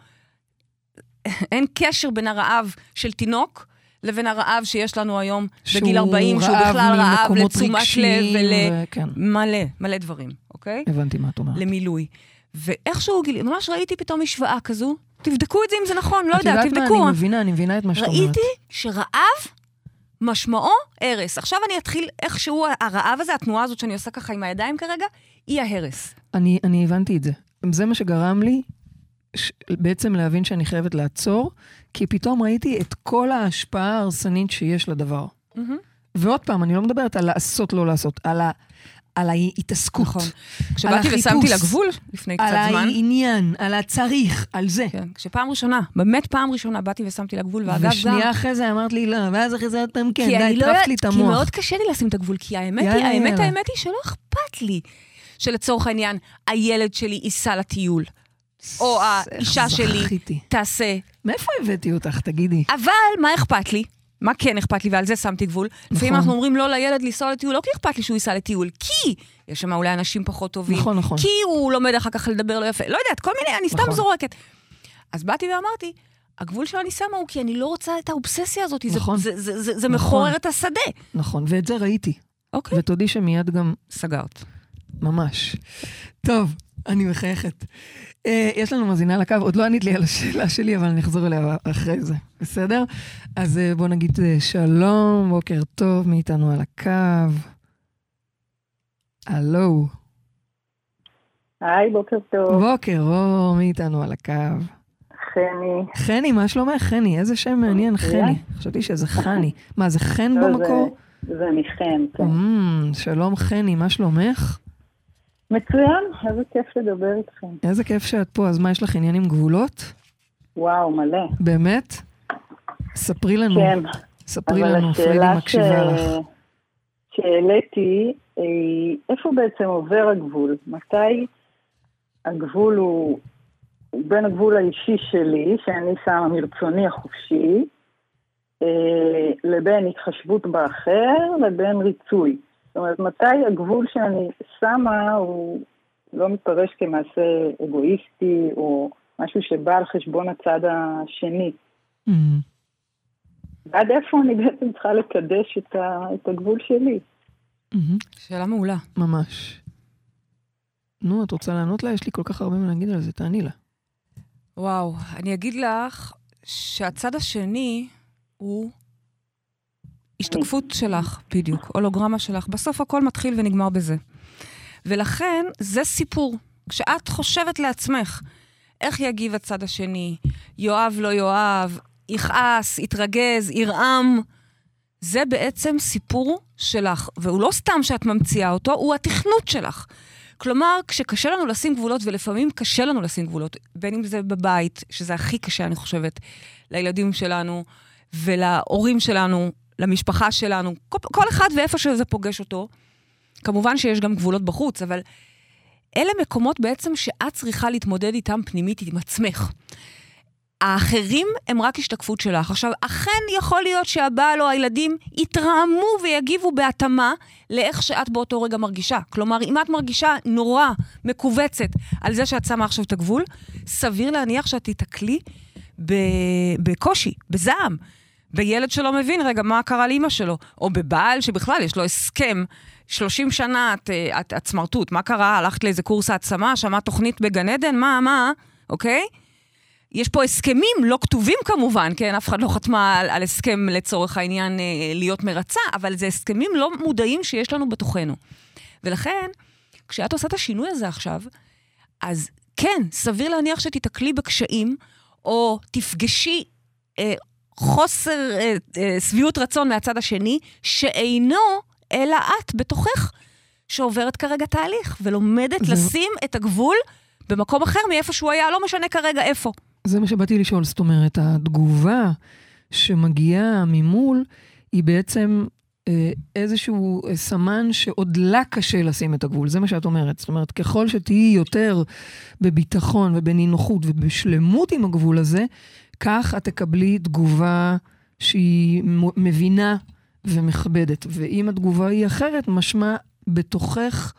S3: אין קשר בין הרעב של תינוק לבין הרעב שיש לנו היום בגיל 40, שהוא בכלל רעב
S2: ממקומות
S3: לתשומת לב
S2: רגשיים
S3: ול...
S2: ו- כן,
S3: מלא, מלא דברים, אוקיי?
S2: הבנתי מה את אומרת.
S3: למילוי. ואיכשהו גילי, ממש ראיתי פתאום משוואה כזו, תבדקו את זה אם זה נכון, לא
S2: את
S3: יודעת,
S2: יודעת
S3: תבדקו.
S2: מה, אני מבינה, אני מבינה את מה שאת אומרת.
S3: ראיתי שרעב משמעו הרס. עכשיו אני אתחיל איכשהו, הרעב הזה, התנועה הזאת שאני עושה ככה עם הידיים כרגע, היא ההרס.
S2: אני, אני הבנתי את זה. זה מה שגרם לי ש... בעצם להבין שאני חייבת לעצור, כי פתאום ראיתי את כל ההשפעה ההרסנית שיש לדבר. ועוד פעם, אני לא מדברת על לעשות, לא לעשות, על ה... על ההתעסקות.
S3: נכון.
S2: על
S3: כשבאתי
S2: החיפוש,
S3: ושמתי לה גבול לפני קצת
S2: על
S3: זמן,
S2: העניין, על הצריך, על זה.
S3: כן, כשפעם ראשונה, באמת פעם ראשונה, באתי ושמתי לה גבול, ואגב, גם...
S2: ושנייה אחרי זה אמרת לי לא, ואז אחרי זה עוד פעם כן,
S3: כי
S2: די,
S3: אני לא
S2: הטרפת לי
S3: יודעת-
S2: את המוח.
S3: כי מאוד קשה לי לשים את הגבול, כי האמת היא,
S2: יאללה,
S3: האמת,
S2: יאללה.
S3: האמת היא שלא אכפת לי שלצורך העניין, הילד שלי ייסע לטיול, או
S2: איך
S3: האישה שלי
S2: זכיתי.
S3: תעשה.
S2: מאיפה הבאתי אותך, תגידי?
S3: אבל מה אכפת לי? מה כן אכפת לי, ועל זה שמתי גבול.
S2: נכון.
S3: לפעמים אנחנו אומרים לא לילד לנסוע לטיול, לא כי אכפת לי שהוא ייסע לטיול, כי יש שם אולי אנשים פחות טובים.
S2: נכון, נכון.
S3: כי הוא לומד אחר כך לדבר לא יפה. לא יודעת, כל מיני, אני סתם
S2: נכון.
S3: זורקת. אז באתי ואמרתי, הגבול שאני שמה הוא כי אני לא רוצה את האובססיה הזאת, זה-
S2: נכון.
S3: זה- זה- זה זה
S2: נכון.
S3: מכורר את השדה.
S2: נכון, ואת זה ראיתי.
S3: אוקיי,
S2: ותודי שמיד גם
S3: סגרת.
S2: ממש. טוב, אני מחייכת. אה, יש לנו מאזינה לקו, עוד לא ענית לי על השאלה שלי, אבל אני אחזור אליה אחרי זה, בסדר? אז אה, בוא נגיד אה, שלום, בוקר טוב, מי איתנו על הקו? הלו.
S4: היי, בוקר טוב,
S2: בוקר אור, מי איתנו על הקו?
S4: חני.
S2: חני, מה שלומך? חני, איזה שם מעניין, חני. חשבתי שזה חני. מה, זה חן
S4: אוקיי. לא,
S2: במקור?
S4: זה- זה מחן, כן.
S2: אמ, שלום חני, מה שלומך?
S4: מצוין, איזה כיף לדבר איתכם.
S2: איזה כיף שאת פה, אז מה, יש לך עניין עם גבולות?
S4: וואו, מלא.
S2: באמת? ספרי לנו,
S4: כן,
S2: ספרי
S4: אבל
S2: לנו, פריידי
S4: השאלה ש...
S2: מקשיבה לך.
S4: שהעליתי, היא, איפה בעצם עובר הגבול? מתי הגבול הוא הוא בין הגבול האישי שלי, שאני שמה מרצוני החופשי, אה, לבין התחשבות באחר, לבין ריצוי. זאת אומרת, מתי הגבול שאני שמה הוא לא מתפרש כמעשה אגואיסטי, או משהו שבא על חשבון הצד השני.
S2: אמ,
S4: עד איפה אני בעצם צריכה לקדש את, ה, את הגבול שלי?
S2: אמ,
S3: שאלה מעולה.
S2: ממש. נו, את רוצה לענות לה? יש לי כל כך הרבה מה להגיד על זה, תעני לה.
S3: וואו, אני אגיד לך שהצד השני הוא השתקפות שלך, בדיוק, הולוגרמה שלך. בסוף הכל מתחיל ונגמר בזה. ולכן, זה סיפור. כשאת חושבת לעצמך, איך יגיב הצד השני, יאהב לא יאהב, יכעס, יתרגז, ירעם, זה בעצם סיפור שלך, והוא לא סתם שאת ממציאה אותו, הוא התכנות שלך. כלומר, כשקשה לנו לשים גבולות, ולפעמים קשה לנו לשים גבולות, בין אם זה בבית, שזה הכי קשה, אני חושבת, לילדים שלנו ולהורים שלנו, למשפחה שלנו, כל, כל אחד ואיפה שזה פוגש אותו. כמובן שיש גם גבולות בחוץ, אבל אלה מקומות בעצם שאת צריכה להתמודד איתם פנימית, עם עצמך. האחרים הם רק השתקפות שלך. עכשיו, אכן יכול להיות שהבעל או הילדים יתרעמו ויגיבו בהתאמה לאיך שאת באותו רגע מרגישה. כלומר, אם את מרגישה נורא מכווצת על זה שאת שמה עכשיו את הגבול, סביר להניח שאת תיתקלי ב- בקושי, בזעם, בילד שלא מבין רגע מה קרה לאימא שלו, או בבעל שבכלל יש לו הסכם, 30 שנה את, אה, את, את סמרטוט, מה קרה? הלכת לאיזה קורס העצמה, שמעת תוכנית בגן עדן, מה, מה, אוקיי? יש פה הסכמים לא כתובים כמובן, כן? אף אחד לא חתמה על, על הסכם לצורך העניין אה, להיות מרצה, אבל זה הסכמים לא מודעים שיש לנו בתוכנו. ולכן, כשאת עושה את השינוי הזה עכשיו, אז כן, סביר להניח שתיתקלי בקשיים, או תפגשי אה, חוסר אה, אה, שביעות רצון מהצד השני, שאינו אלא את בתוכך, שעוברת כרגע תהליך, ולומדת
S2: זה-
S3: לשים את הגבול במקום אחר מאיפה שהוא היה, לא משנה כרגע איפה.
S2: זה מה שבאתי לשאול, זאת אומרת, התגובה שמגיעה ממול היא בעצם אה, איזשהו אה, סמן שעוד לה קשה לשים את הגבול, זה מה שאת אומרת. זאת אומרת, ככל שתהיי יותר בביטחון ובנינוחות ובשלמות עם הגבול הזה, כך את תקבלי תגובה שהיא מ- מבינה ומכבדת. ואם התגובה היא אחרת, משמע בתוכך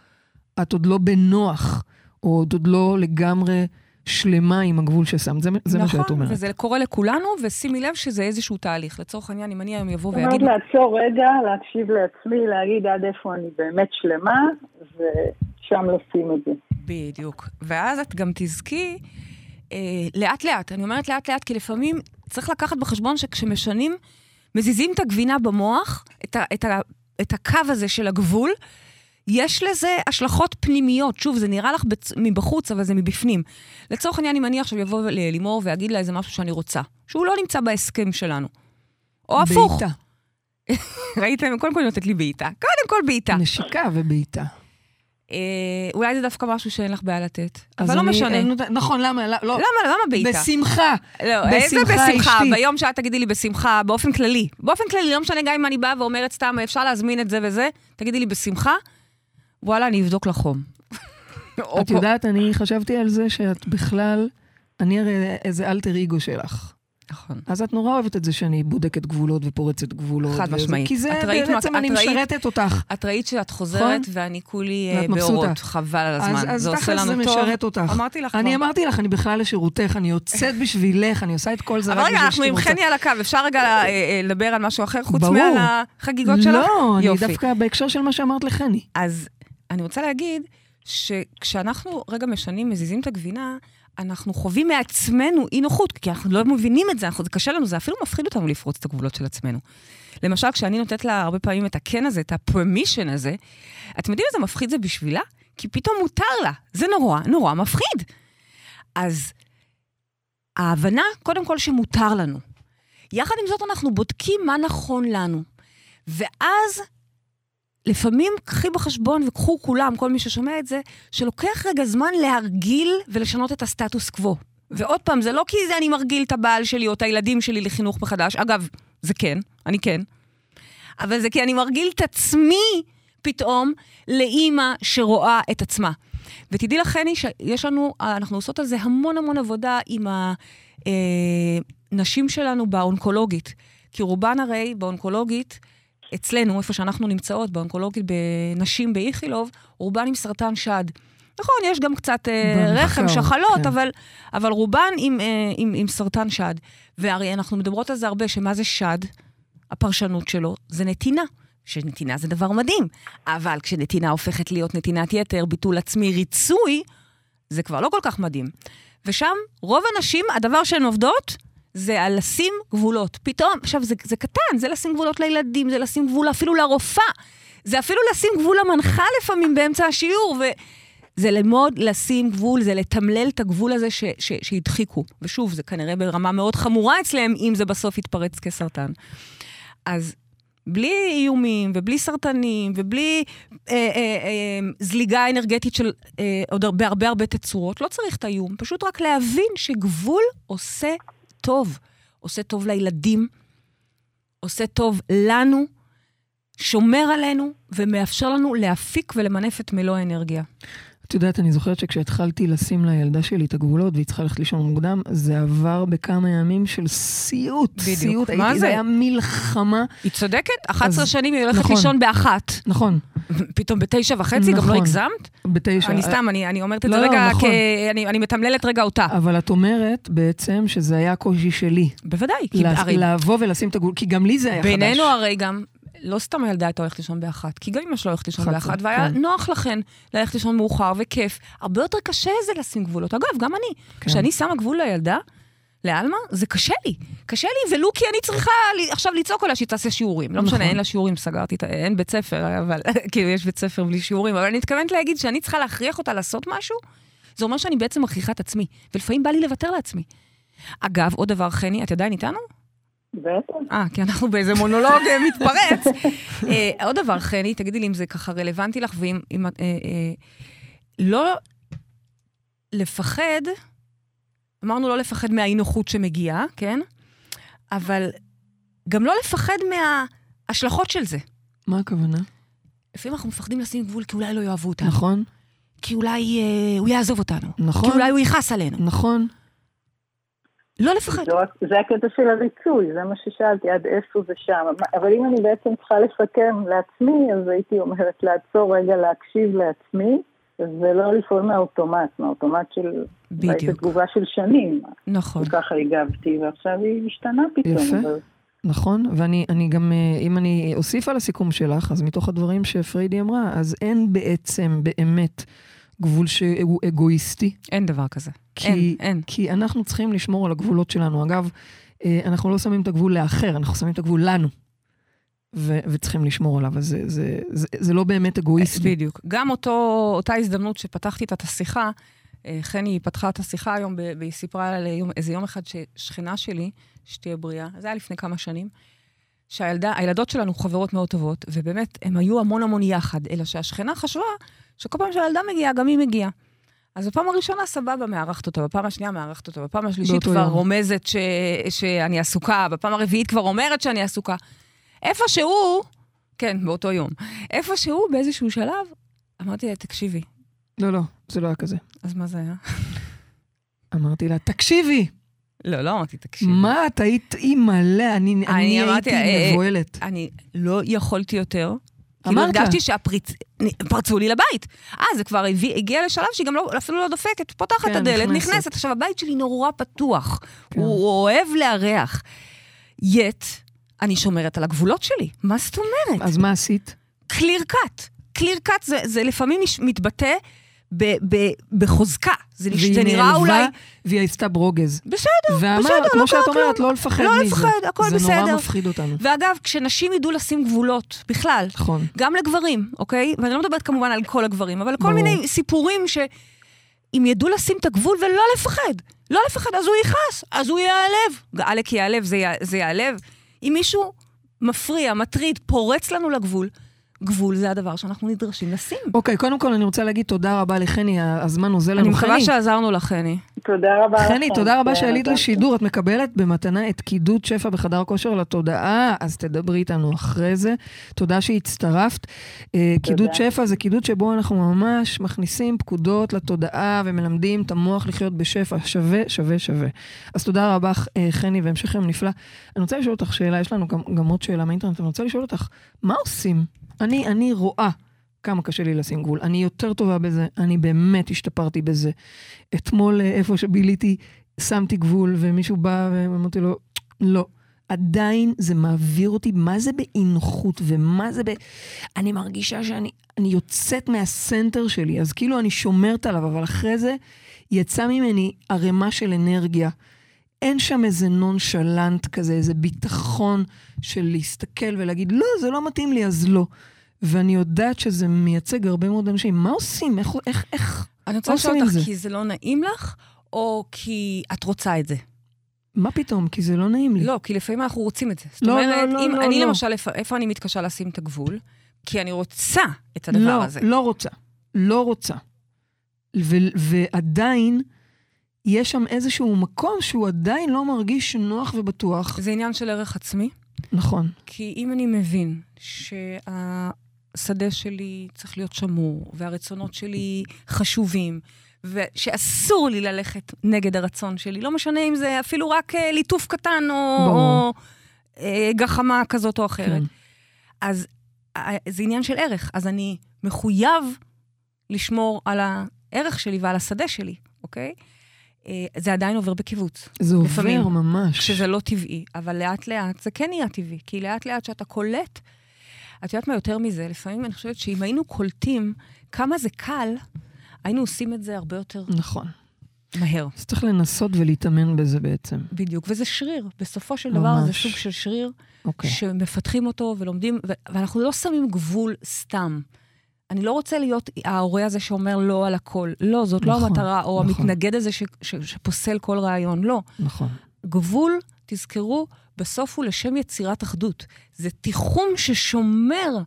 S2: את עוד לא בנוח, או את עוד לא לגמרי שלמה עם הגבול ששמת. זה, זה מה שאת אומרת.
S3: נכון, וזה קורה לכולנו, ושימי לב שזה איזשהו תהליך. לצורך העניין, אם אני היום אבוא
S4: זאת אומרת,
S3: ואגיד...
S4: לעצור רגע, להקשיב לעצמי, להגיד עד איפה אני באמת שלמה, ושם לשים את זה.
S3: בדיוק. ואז את גם תזכי אה, לאט-לאט. אני אומרת לאט-לאט, כי לפעמים צריך לקחת בחשבון שכשמשנים, מזיזים את הגבינה במוח, את, ה, את, ה, את הקו הזה של הגבול, יש לזה השלכות פנימיות. שוב, זה נראה לך בצ... מבחוץ, אבל זה מבפנים. לצורך העניין, אם אני עכשיו אבוא ללימור ואגיד לה איזה משהו שאני רוצה, שהוא לא נמצא בהסכם שלנו. או הפוך.
S2: בעיטה,
S3: ראיתם? קודם כל היא נותנת לי בעיטה. קודם כל בעיטה.
S2: נשיקה ובעיטה.
S3: אה, אולי זה דווקא משהו שאין לך בעיה לתת.
S2: אז
S3: אבל לא
S2: אני-
S3: משנה.
S2: אין- נכון, למה? לא-
S3: למה, למה בעיטה?
S2: בשמחה.
S3: לא, איזה
S2: בשמחה,
S3: בשמחה?
S2: אשתי.
S3: ביום שאת תגידי לי בשמחה, באופן כללי. באופן כללי, לא משנה גם אם אני באה ואומרת סתם, אפשר להזמין את זה וזה, תגידי לי בשמחה, וואלה, אני אבדוק לחום. אוקיי.
S2: את יודעת, אני חשבתי על זה שאת בכלל, אני הרי איזה אלטר אגו שלך.
S3: נכון.
S2: אז את נורא אוהבת את זה שאני בודקת גבולות ופורצת גבולות.
S3: חד
S2: וזה-
S3: משמעית.
S2: כי זה
S3: את ראית מה-
S2: בעצם
S3: את
S2: אני
S3: ראית-
S2: משרתת אותך.
S3: את ראית שאת חוזרת, ואני כולי אה,
S2: נכון. ואת מבסוטה.
S3: באורות, חבל על הזמן.
S2: אז
S3: זה עושה
S2: תכל'ס
S3: לנו
S2: זה
S3: טוב.
S2: משרת אותך.
S3: אמרתי לך
S2: אני
S3: כבר.
S2: אמרתי לך, אני בכלל לשירותך, אני יוצאת בשבילך, אני עושה את כל זה
S3: אבל
S2: רק
S3: רגע,
S2: בשביל
S3: אנחנו
S2: שאתם
S3: עם
S2: רוצים.
S3: חני על הקו, אפשר רגע אה, אה, לדבר על משהו אחר חוץ
S2: ברור.
S3: מעל החגיגות שלך?
S2: לא, אני
S3: יופי.
S2: דווקא בהקשר של מה שאמרת לחני.
S3: אז אני רוצה להגיד שכשאנחנו רגע משנים, מזיזים את הגבינה, אנחנו חווים מעצמנו אי נוחות, כי אנחנו לא מבינים את זה, אנחנו, זה קשה לנו, זה אפילו מפחיד אותנו לפרוץ את הגבולות של עצמנו. למשל, כשאני נותנת לה הרבה פעמים את הכן הזה, את ה-permission הזה, אתם יודעים איזה מפחיד זה בשבילה? כי פתאום מותר לה. זה נורא, נורא מפחיד. אז ההבנה, קודם כל, שמותר לנו. יחד עם זאת, אנחנו בודקים מה נכון לנו. ואז לפעמים קחי בחשבון, וקחו כולם, כל מי ששומע את זה, שלוקח רגע זמן להרגיל ולשנות את הסטטוס קוו. ועוד פעם, זה לא כי זה אני מרגיל את הבעל שלי או את הילדים שלי לחינוך מחדש. אגב, זה כן, אני כן. אבל זה כי אני מרגיל את עצמי פתאום לאימא שרואה את עצמה. ותדעי לך, חני, שיש לנו, אנחנו עושות על זה המון המון עבודה עם הנשים שלנו באונקולוגית. כי רובן הרי באונקולוגית, אצלנו, איפה שאנחנו נמצאות, באונקולוגית, בנשים באיכילוב, רובן עם סרטן שד. נכון, יש גם קצת אה,
S2: במחקר,
S3: רחם, שחלות,
S2: כן.
S3: אבל, אבל רובן עם, אה, עם, עם סרטן שד. והרי אנחנו מדברות על זה הרבה, שמה זה שד? הפרשנות שלו זה נתינה. שנתינה זה דבר מדהים, אבל כשנתינה הופכת להיות נתינת יתר, ביטול עצמי, ריצוי, זה כבר לא כל כך מדהים. ושם, רוב הנשים, הדבר שהן עובדות, זה על לשים גבולות. פתאום, עכשיו, זה, זה קטן, זה לשים גבולות לילדים, זה לשים גבול אפילו לרופאה, זה אפילו לשים גבול למנחה לפעמים באמצע השיעור, ו... זה ללמוד לשים גבול, זה לתמלל את הגבול הזה ש, ש, שהדחיקו. ושוב, זה כנראה ברמה מאוד חמורה אצלם, אם זה בסוף יתפרץ כסרטן. אז בלי איומים, ובלי סרטנים, ובלי אה, אה, אה, זליגה אנרגטית של אה, עוד הרבה הרבה הרבה תצורות, לא צריך את האיום, פשוט רק להבין שגבול עושה טוב. עושה טוב לילדים, עושה טוב לנו, שומר עלינו, ומאפשר לנו להפיק ולמנף את מלוא האנרגיה.
S2: את יודעת, אני זוכרת שכשהתחלתי לשים לילדה שלי את הגבולות והיא צריכה ללכת לישון מוקדם, זה עבר בכמה ימים של סיוט.
S3: בדיוק.
S2: סיוט,
S3: מה
S2: הייתי-
S3: זה?
S2: היה מלחמה.
S3: היא צודקת, 11
S2: אז-
S3: שנים היא הולכת
S2: נכון.
S3: לישון באחת.
S2: נכון,
S3: פתאום בתשע וחצי, גם לא
S2: נכון.
S3: הגזמת?
S2: בתשע.
S3: אני סתם, אני אני אומרת את
S2: לא,
S3: זה
S2: לא,
S3: רגע,
S2: נכון.
S3: כ- אני- אני מתמללת רגע אותה.
S2: אבל את אומרת בעצם שזה היה הקושי שלי.
S3: בוודאי, כי
S2: לה-
S3: הרי
S2: לבוא ולשים את הגבול, כי גם לי זה היה חדש.
S3: בינינו הרי גם, לא סתם הילדה הייתה הולכת לישון באחת, כי גם אמא שלה הולכת לישון
S2: אחת,
S3: באחת, והיה
S2: כן.
S3: נוח לכן ללכת לישון מאוחר וכיף. הרבה יותר קשה זה לשים גבולות. אגב, גם אני,
S2: כן.
S3: כשאני שמה גבול לילדה, לעלמה, זה קשה לי. קשה לי, ולו כי אני צריכה לי, עכשיו לצעוק עליה שהיא תעשה שיעורים. לא משנה,
S2: נכון.
S3: אין לה שיעורים, סגרתי, את ה- אין בית ספר, אבל [laughs] כאילו יש בית ספר בלי שיעורים, אבל אני מתכוונת להגיד שאני צריכה להכריח אותה לעשות משהו, זה אומר שאני בעצם מכריחה את עצמי, ולפעמים בא לי לוותר לעצמי. אגב, עוד דבר, חני, את עדיין איתנו?
S4: בטח.
S3: אה, כי אנחנו באיזה מונולוג אה, מתפרץ. אה, עוד דבר, חני, תגידי לי אם זה ככה רלוונטי לך, ואם... אם, את, אה, אה, לא לפחד, אמרנו לא לפחד מהאי-נוחות שמגיעה, כן? אבל גם לא לפחד מההשלכות של זה.
S2: מה הכוונה?
S3: לפעמים אנחנו מפחדים לשים גבול כי אולי לא יאהבו אותנו,
S2: נכון,
S3: כי אולי אה, הוא יעזוב אותנו, כי
S2: נכון,
S3: אולי הוא יכעס עלינו.
S2: נכון.
S3: לא לפחד.
S4: זו רק- זה הקטע של הריצוי, זה מה ששאלתי, עד איפה זה שם. אבל אם אני בעצם צריכה לסכם לעצמי, אז הייתי אומרת לעצור רגע, להקשיב לעצמי, ולא לפעול מהאוטומט, מהאוטומט של... אולי זו
S3: בדיוק,
S4: תגובה של שנים,
S3: נכון.
S4: וככה הגבתי, ועכשיו היא משתנה פתאום.
S2: יפה.
S4: אבל-
S2: נכון, ואני אני גם, אה, אם אני אוסיף על הסיכום שלך, אז מתוך הדברים שפריידי אמרה, אז אין בעצם, באמת, גבול שהוא אגואיסטי.
S3: אין דבר כזה.
S2: כי,
S3: אין, אין.
S2: כי אנחנו צריכים לשמור על הגבולות שלנו. אגב, אה, אנחנו לא שמים את הגבול לאחר, אנחנו שמים את הגבול לנו. ו- וצריכים לשמור עליו, אז זה, זה, זה, זה לא באמת אגואיסטי.
S3: בדיוק. אה, גם אותו, אותה הזדמנות שפתחתי איתה את השיחה, אה, חני פתחה את השיחה היום, ב- והיא סיפרה על יום, איזה יום אחד ששכנה שלי, שתהיה בריאה, זה היה לפני כמה שנים, שהילדה, הילדות שלנו חברות מאוד טובות, ובאמת, הן היו המון המון יחד, אלא שהשכנה חשבה שכל פעם שהילדה מגיעה, גם היא מגיעה. אז בפעם הראשונה, סבבה, מארחת אותה, בפעם השנייה, מארחת אותה, בפעם השלישית
S2: באותו
S3: כבר
S2: יום.
S3: רומזת ש... שאני עסוקה, בפעם הרביעית כבר אומרת שאני עסוקה. איפה שהוא, כן, באותו יום, איפה שהוא, באיזשהו שלב, אמרתי לה, תקשיבי,
S2: לא, לא, זה לא היה כזה.
S3: אז מה זה היה?
S2: אמרתי לה, תקשיבי,
S3: לא, לא אמרתי, תקשיבי.
S2: מה את היית אימא'לה, אני אני
S3: אני אמרתי, אה,
S2: הייתי
S3: אה,
S2: מבוהלת.
S3: אני לא יכולתי יותר. כאילו
S2: אמרת.
S3: הרגשתי שפרצו לי לבית. אה, זה כבר הביא- הגיע לשלב שהיא גם לא, אפילו לא דופקת, פותחת
S2: כן,
S3: את הדלת,
S2: נכנסת.
S3: נכנסת. עכשיו, הבית שלי נורא פתוח.
S2: כן.
S3: הוא אוהב לארח. יט, אני שומרת על הגבולות שלי. מה זאת אומרת?
S2: אז מה עשית?
S3: קליר קאט. קליר קאט זה, זה לפעמים נש- מתבטא ב, ב, בחוזקה. זה, נש- זה נראה
S2: נעלבה,
S3: אולי...
S2: והיא עשתה ברוגז.
S3: בסדר,
S2: ואמרת,
S3: בסדר,
S2: כמו
S3: לא
S2: שאת
S3: קרה
S2: אומרת,
S3: כלום.
S2: לא לפחד
S3: לא
S2: מזה.
S3: לפחד, הכל
S2: זה נורא
S3: בסדר.
S2: מפחיד אותנו.
S3: ואגב, כשנשים ידעו לשים גבולות, בכלל,
S2: נכון.
S3: גם לגברים, אוקיי? ואני לא מדברת כמובן על כל הגברים, אבל כל
S2: ברור.
S3: מיני סיפורים ש... אם ידעו לשים את הגבול ולא לפחד, לא לפחד, אז הוא יכעס, אז הוא ייעלב. עלק ייעלב, זה, י... זה ייעלב. אם מישהו מפריע, מטריד, פורץ לנו לגבול, גבול זה הדבר שאנחנו נדרשים לשים.
S2: אוקיי, קודם כל אני רוצה להגיד תודה רבה לחני, ה- הזמן נוזל לנו.
S3: אני מקווה
S2: חני,
S3: שעזרנו לך, חני.
S4: תודה רבה לכם.
S2: חני, תודה רבה
S4: כן,
S2: שעלית
S4: עזרתם.
S2: לשידור. את מקבלת במתנה את קידוד שפע בחדר כושר לתודעה, אז תדברי איתנו אחרי זה. תודה שהצטרפת. אה, קידוד שפע זה קידוד שבו אנחנו ממש מכניסים פקודות לתודעה ומלמדים את המוח לחיות בשפע. שווה, שווה, שווה. אז תודה רבה, אה, חני, והמשך יום נפלא. אני רוצה לשאול אותך שאלה, יש לנו גם, גם עוד שאלה מהאינטרנט, אני רוצה לשאול אותך, מה עושים? אני, אני רואה. כמה קשה לי לשים גבול. אני יותר טובה בזה, אני באמת השתפרתי בזה. אתמול, אה, איפה שביליתי, שמתי גבול, ומישהו בא ואמרתי לו, לא. עדיין זה מעביר אותי, מה זה באי-נוחות ומה זה ב... אני מרגישה שאני אני יוצאת מהסנטר שלי, אז כאילו אני שומרת עליו, אבל אחרי זה יצא ממני ערימה של אנרגיה. אין שם איזה נונשלנט כזה, איזה ביטחון של להסתכל ולהגיד, לא, זה לא מתאים לי, אז לא. ואני יודעת שזה מייצג הרבה מאוד אנשים. מה עושים? איך... איך, איך
S3: אני רוצה
S2: מה
S3: לשאול
S2: עושים עם
S3: אותך,
S2: זה?
S3: כי זה לא נעים לך, או כי את רוצה את זה?
S2: מה פתאום? כי זה לא נעים לי.
S3: לא, כי לפעמים אנחנו רוצים את זה. זאת
S2: לא, לא,
S3: אומרת,
S2: לא,
S3: אם
S2: לא,
S3: אני
S2: לא.
S3: למשל, איפה- איפה אני מתקשה לשים את הגבול? כי אני רוצה את הדבר
S2: לא,
S3: הזה.
S2: לא רוצה. לא רוצה. ו, ועדיין, יש שם איזשהו מקום שהוא עדיין לא מרגיש נוח ובטוח.
S3: זה עניין של ערך עצמי,
S2: נכון.
S3: כי אם אני מבין שהשדה שלי צריך להיות שמור, והרצונות שלי חשובים, ושאסור לי ללכת נגד הרצון שלי, לא משנה אם זה אפילו רק אה, ליטוף קטן או,
S2: ברור.
S3: או אה, גחמה כזאת או אחרת.
S2: כן.
S3: אז אה, זה עניין של ערך, אז אני מחויב לשמור על הערך שלי ועל השדה שלי, אוקיי? אה, זה עדיין עובר בקיבוץ,
S2: זה עובר
S3: לפעמים,
S2: ממש.
S3: כשזה לא טבעי, אבל לאט-לאט זה כן נהיה טבעי, כי לאט-לאט שאתה קולט, את יודעת מה יותר מזה? לפעמים אני חושבת שאם היינו קולטים כמה זה קל, היינו עושים את זה הרבה יותר
S2: נכון.
S3: מהר.
S2: אז צריך לנסות ולהתאמן בזה בעצם.
S3: בדיוק, וזה שריר. בסופו של דבר זה
S2: ממש.
S3: סוג של שריר
S2: אוקיי.
S3: שמפתחים אותו ולומדים, ו- ואנחנו לא שמים גבול סתם. אני לא רוצה להיות ההורה הזה שאומר לא על הכל. לא, זאת לא
S2: נכון,
S3: המטרה, או
S2: נכון.
S3: המתנגד הזה ש, ש, שפוסל כל רעיון. לא.
S2: נכון.
S3: גבול, תזכרו, בסוף הוא לשם יצירת אחדות. זה תיחום ששומר
S2: זה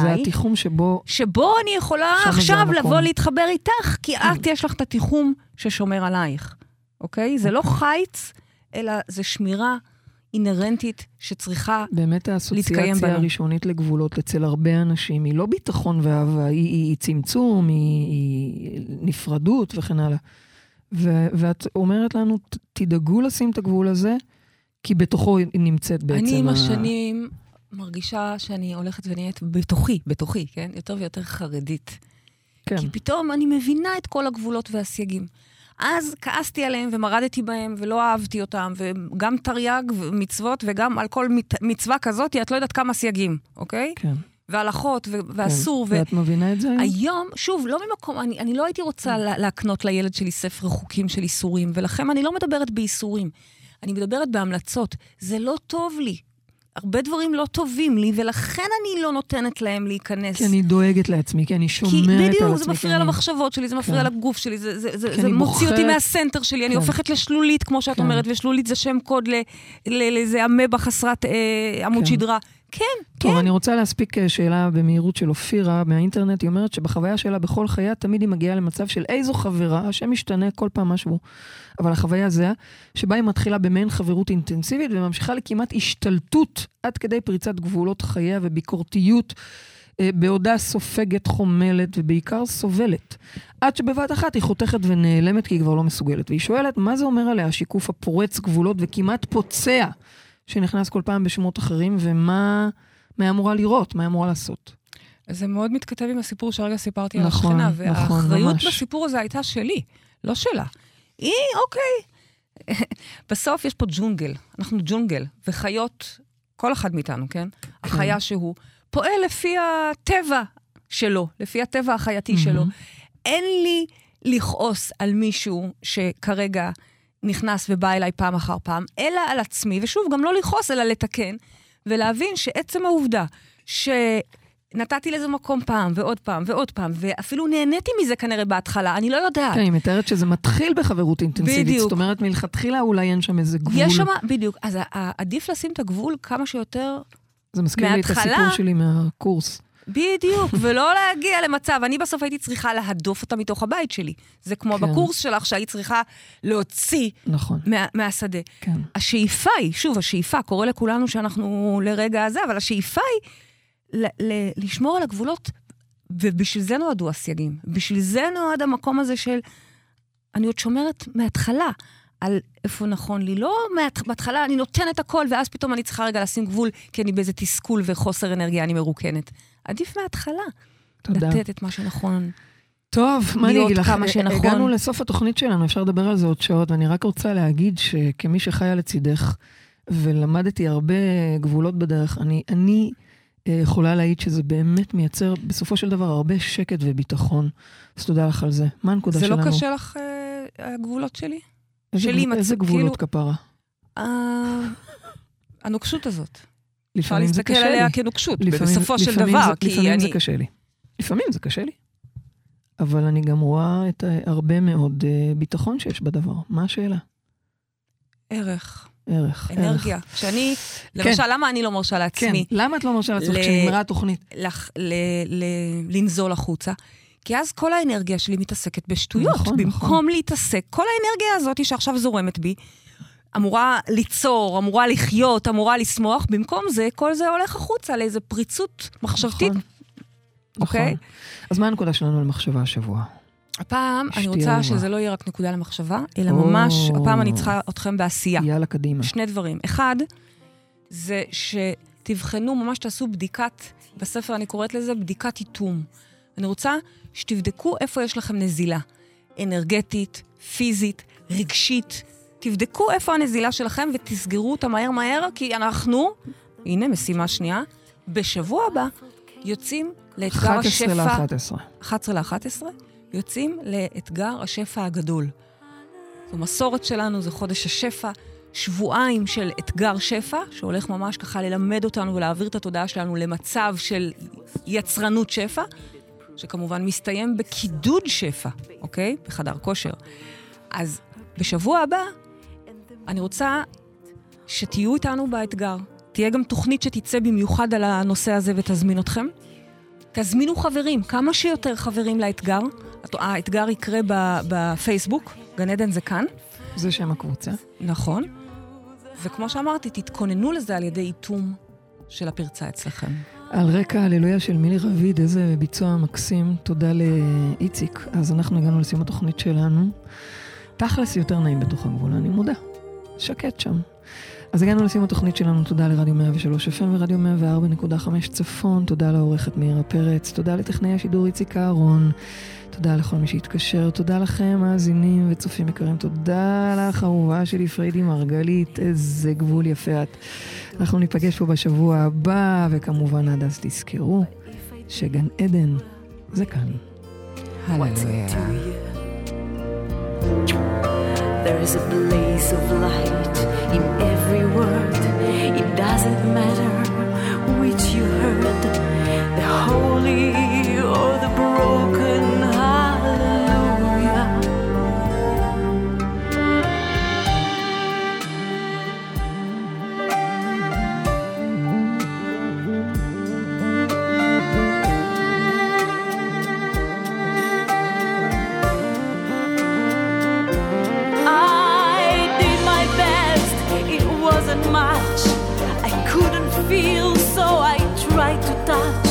S3: עליי,
S2: התיחום שבו...
S3: שבו אני יכולה
S2: שם זה
S3: עכשיו
S2: המקום. כן.
S3: לבוא להתחבר איתך, כי את, יש לך את התיחום ששומר עלייך, אוקיי? זה לא חיץ, אלא זה שמירה אינהרנטית שצריכה
S2: באמת
S3: להתקיים
S2: האסוציאציה
S3: בנו.
S2: הראשונית לגבולות אצל הרבה אנשים היא לא ביטחון ואהבה, היא, היא, היא צמצום, היא, היא נפרדות וכן הלאה. ו, ואת אומרת לנו, "ת- תדאגו לשים את הגבול הזה, כי בתוכו היא נמצאת בעצם.
S3: אני עם
S2: ה-
S3: השנים מרגישה שאני הולכת ונהיית בתוכי, בתוכי, כן? יותר ויותר חרדית.
S2: כן,
S3: כי פתאום אני מבינה את כל הגבולות והסייגים. אז כעסתי עליהם ומרדתי בהם ולא אהבתי אותם, וגם תרי"ג ומצוות וגם על כל מת- מצווה כזאת, את לא יודעת כמה סייגים, אוקיי?
S2: כן.
S3: והלכות ו- ואסור.
S2: כן. ואת מבינה את זה? כן. היום?
S3: היום, שוב, לא ממקום, אני, אני לא הייתי רוצה לה- להקנות לילד שלי ספר חוקים של איסורים, ולכן אני לא מדברת באיסורים, אני מדברת בהמלצות. זה לא טוב לי. הרבה דברים לא טובים לי, ולכן אני לא נותנת להם להיכנס.
S2: כי אני דואגת לעצמי, כי אני שומרת
S3: כי
S2: על עצמי.
S3: בדיוק, זה
S2: כי
S3: מפריע
S2: אני-
S3: למחשבות שלי, זה מפריע לגוף שלי, זה, זה, זה,
S2: כי
S3: זה
S2: אני
S3: מוציא אותי
S2: בוחרת-
S3: מהסנטר שלי, אני
S2: כן.
S3: הופכת לשלולית, כמו שאת
S2: כן.
S3: אומרת, ושלולית זה שם קוד ל- ל- לאיזה אמבה חסרת אה, עמוד
S2: כן.
S3: שדרה. כן,
S2: טוב,
S3: כן.
S2: אני רוצה להספיק אה, שאלה במהירות של אופירה מהאינטרנט. היא אומרת שבחוויה שלה בכל חייה תמיד היא מגיעה למצב של איזו חברה, השם משתנה כל פעם משהו, אבל החוויה זהה, שבה היא מתחילה במעין חברות אינטנסיבית וממשיכה לכמעט השתלטות עד כדי פריצת גבולות חייה וביקורתיות. אה, בעודה סופגת, חומלת ובעיקר סובלת. עד שבבת אחת היא חותכת ונעלמת כי היא כבר לא מסוגלת. והיא שואלת, מה זה אומר עליה השיקוף הפורץ גבולות וכמעט פוצע שנכנס כל פעם בשמות אחרים, ומה מה היא אמורה לראות, מה היא אמורה לעשות.
S3: זה מאוד מתכתב עם הסיפור שהרגע סיפרתי על
S2: נכון,
S3: השכנה,
S2: נכון,
S3: והאחריות
S2: ממש.
S3: בסיפור הזה הייתה שלי, לא שלה. היא, אוקיי. בסוף יש פה ג'ונגל, אנחנו ג'ונגל, וחיות, כל אחד מאיתנו, כן? החיה שהוא, פועל לפי הטבע שלו, לפי הטבע החייתי שלו. אין לי לכעוס על מישהו שכרגע נכנס ובא אליי פעם אחר פעם, אלא על עצמי, ושוב, גם לא לכעוס, אלא לתקן, ולהבין שעצם העובדה שנתתי לזה מקום פעם, ועוד פעם, ועוד פעם, ואפילו נהניתי מזה כנראה בהתחלה, אני לא יודעת.
S2: כן, היא מתארת שזה מתחיל בחברות אינטנסיבית.
S3: בדיוק.
S2: זאת אומרת, מלכתחילה אולי אין שם איזה גבול.
S3: יש שם, בדיוק, אז ה- ה- עדיף לשים את הגבול כמה שיותר
S2: זה מזכיר לי את
S3: מההתחלה-
S2: הסיפור שלי מהקורס.
S3: בדיוק, [laughs] ולא להגיע למצב, אני בסוף הייתי צריכה להדוף אותה מתוך הבית שלי. זה כמו
S2: כן.
S3: בקורס שלך שהיית צריכה להוציא
S2: נכון,
S3: מה, מהשדה.
S2: כן.
S3: השאיפה היא, שוב, השאיפה, קורה לכולנו שאנחנו לרגע הזה, אבל השאיפה היא ל- ל- לשמור על הגבולות, ובשביל זה נועדו הסייגים. בשביל זה נועד המקום הזה של, אני עוד שומרת מההתחלה על איפה נכון לי. לא מהת- בהתחלה אני נותנת הכל, ואז פתאום אני צריכה רגע לשים גבול, כי אני באיזה תסכול וחוסר אנרגיה, אני מרוקנת. עדיף מההתחלה
S2: תודה.
S3: לתת את מה שנכון.
S2: טוב, מה אני
S3: להיות
S2: אגיד לך? אה,
S3: כמה שנכון.
S2: הגענו לסוף התוכנית שלנו, אפשר לדבר על זה עוד שעות, ואני רק רוצה להגיד שכמי שחיה לצידך, ולמדתי הרבה גבולות בדרך, אני, אני אה, יכולה להעיד שזה באמת מייצר בסופו של דבר הרבה שקט וביטחון. אז תודה לך על זה. מה הנקודה
S3: זה
S2: שלנו?
S3: לא קשה לך, אה, הגבולות שלי?
S2: איזה
S3: שלי
S2: גבול-
S3: מצ- כאילו,
S2: איזה גבולות כפרה?
S3: אה, הנוקשות הזאת. אפשר
S2: לפעמים זה
S3: להסתכל
S2: קשה
S3: עליה
S2: לי.
S3: כנוקשות,
S2: לפעמים-
S3: בסופו של
S2: לפעמים
S3: דבר,
S2: זה-
S3: כי
S2: לפעמים זה
S3: אני...
S2: קשה לי. לפעמים זה קשה לי. אבל אני גם רואה את ה- הרבה מאוד אה, ביטחון שיש בדבר. מה השאלה?
S3: ערך,
S2: ערך. כן. ערך.
S3: אנרגיה. שאני, למשל, למה אני לא מרשה
S2: כן,
S3: לעצמי
S2: למה את לא מרשה לעצמך
S3: ל-
S2: כשנגמרה התוכנית?
S3: לח- ל- ל- לנזול החוצה? כי אז כל האנרגיה שלי מתעסקת בשטויות.
S2: נכון, נכון.
S3: במקום להתעסק, כל האנרגיה הזאת שעכשיו זורמת בי, אמורה ליצור, אמורה לחיות, אמורה לשמוח, במקום זה, כל זה הולך החוצה לאיזו פריצות מחשבתית.
S2: נכון.
S3: אוקיי?
S2: נכון. אז מה הנקודה שלנו על מחשבה השבוע?
S3: הפעם אני
S2: שתהיה
S3: רוצה
S2: רגועה.
S3: שזה לא יהיה רק נקודה למחשבה, אלא
S2: או.
S3: ממש, הפעם אני צריכה אתכם בעשייה.
S2: יאללה, קדימה.
S3: שני דברים. אחד, זה שתבחנו, ממש תעשו בדיקת, בספר אני קוראת לזה בדיקת איתום. אני רוצה שתבדקו איפה יש לכם נזילה. אנרגטית, פיזית, רגשית. תבדקו איפה הנזילה שלכם ותסגרו אותה מהר מהר, כי אנחנו, הנה משימה שנייה, בשבוע הבא יוצאים לאתגר
S2: 11
S3: השפע...
S2: ל-11.
S3: 11 ל-11, יוצאים לאתגר השפע הגדול. זו מסורת שלנו, זה חודש השפע, שבועיים של אתגר שפע, שהולך ממש ככה ללמד אותנו ולהעביר את התודעה שלנו למצב של יצרנות שפע, שכמובן מסתיים בקידוד שפע, אוקיי? בחדר כושר. אז בשבוע הבא, אני רוצה שתהיו איתנו באתגר. תהיה גם תוכנית שתצא במיוחד על הנושא הזה ותזמין אתכם. תזמינו חברים, כמה שיותר חברים לאתגר. הת- האתגר יקרה ב- בפייסבוק, גן עדן זה כאן.
S2: זה שם הקבוצה.
S3: נכון. וכמו שאמרתי, תתכוננו לזה על ידי איתום של הפרצה אצלכם.
S2: על רקע הללויה של מילי רביד, איזה ביצוע מקסים. תודה לאיציק. אז אנחנו הגענו לסיום התוכנית שלנו. תכלס יותר נעים בתוך הגבול, אני מודה. שקט שם. אז הגענו לסיום התוכנית שלנו, תודה לרדיו 103 FM ורדיו 104.5 צפון, תודה לעורכת מאירה פרץ, תודה לטכנאי השידור איציק אהרון, תודה לכל מי שהתקשר, תודה לכם, מאזינים וצופים יקרים, תודה לך, אהובה שלי, פריידי מרגלית, איזה גבול יפה את. אנחנו ניפגש פה בשבוע הבא, וכמובן עד אז תזכרו שגן עדן זה כאן.
S3: הללויה.
S5: There is a blaze of light in every word. It doesn't matter which you heard, the holy or the broken. Hallelujah. feel, so I try to touch.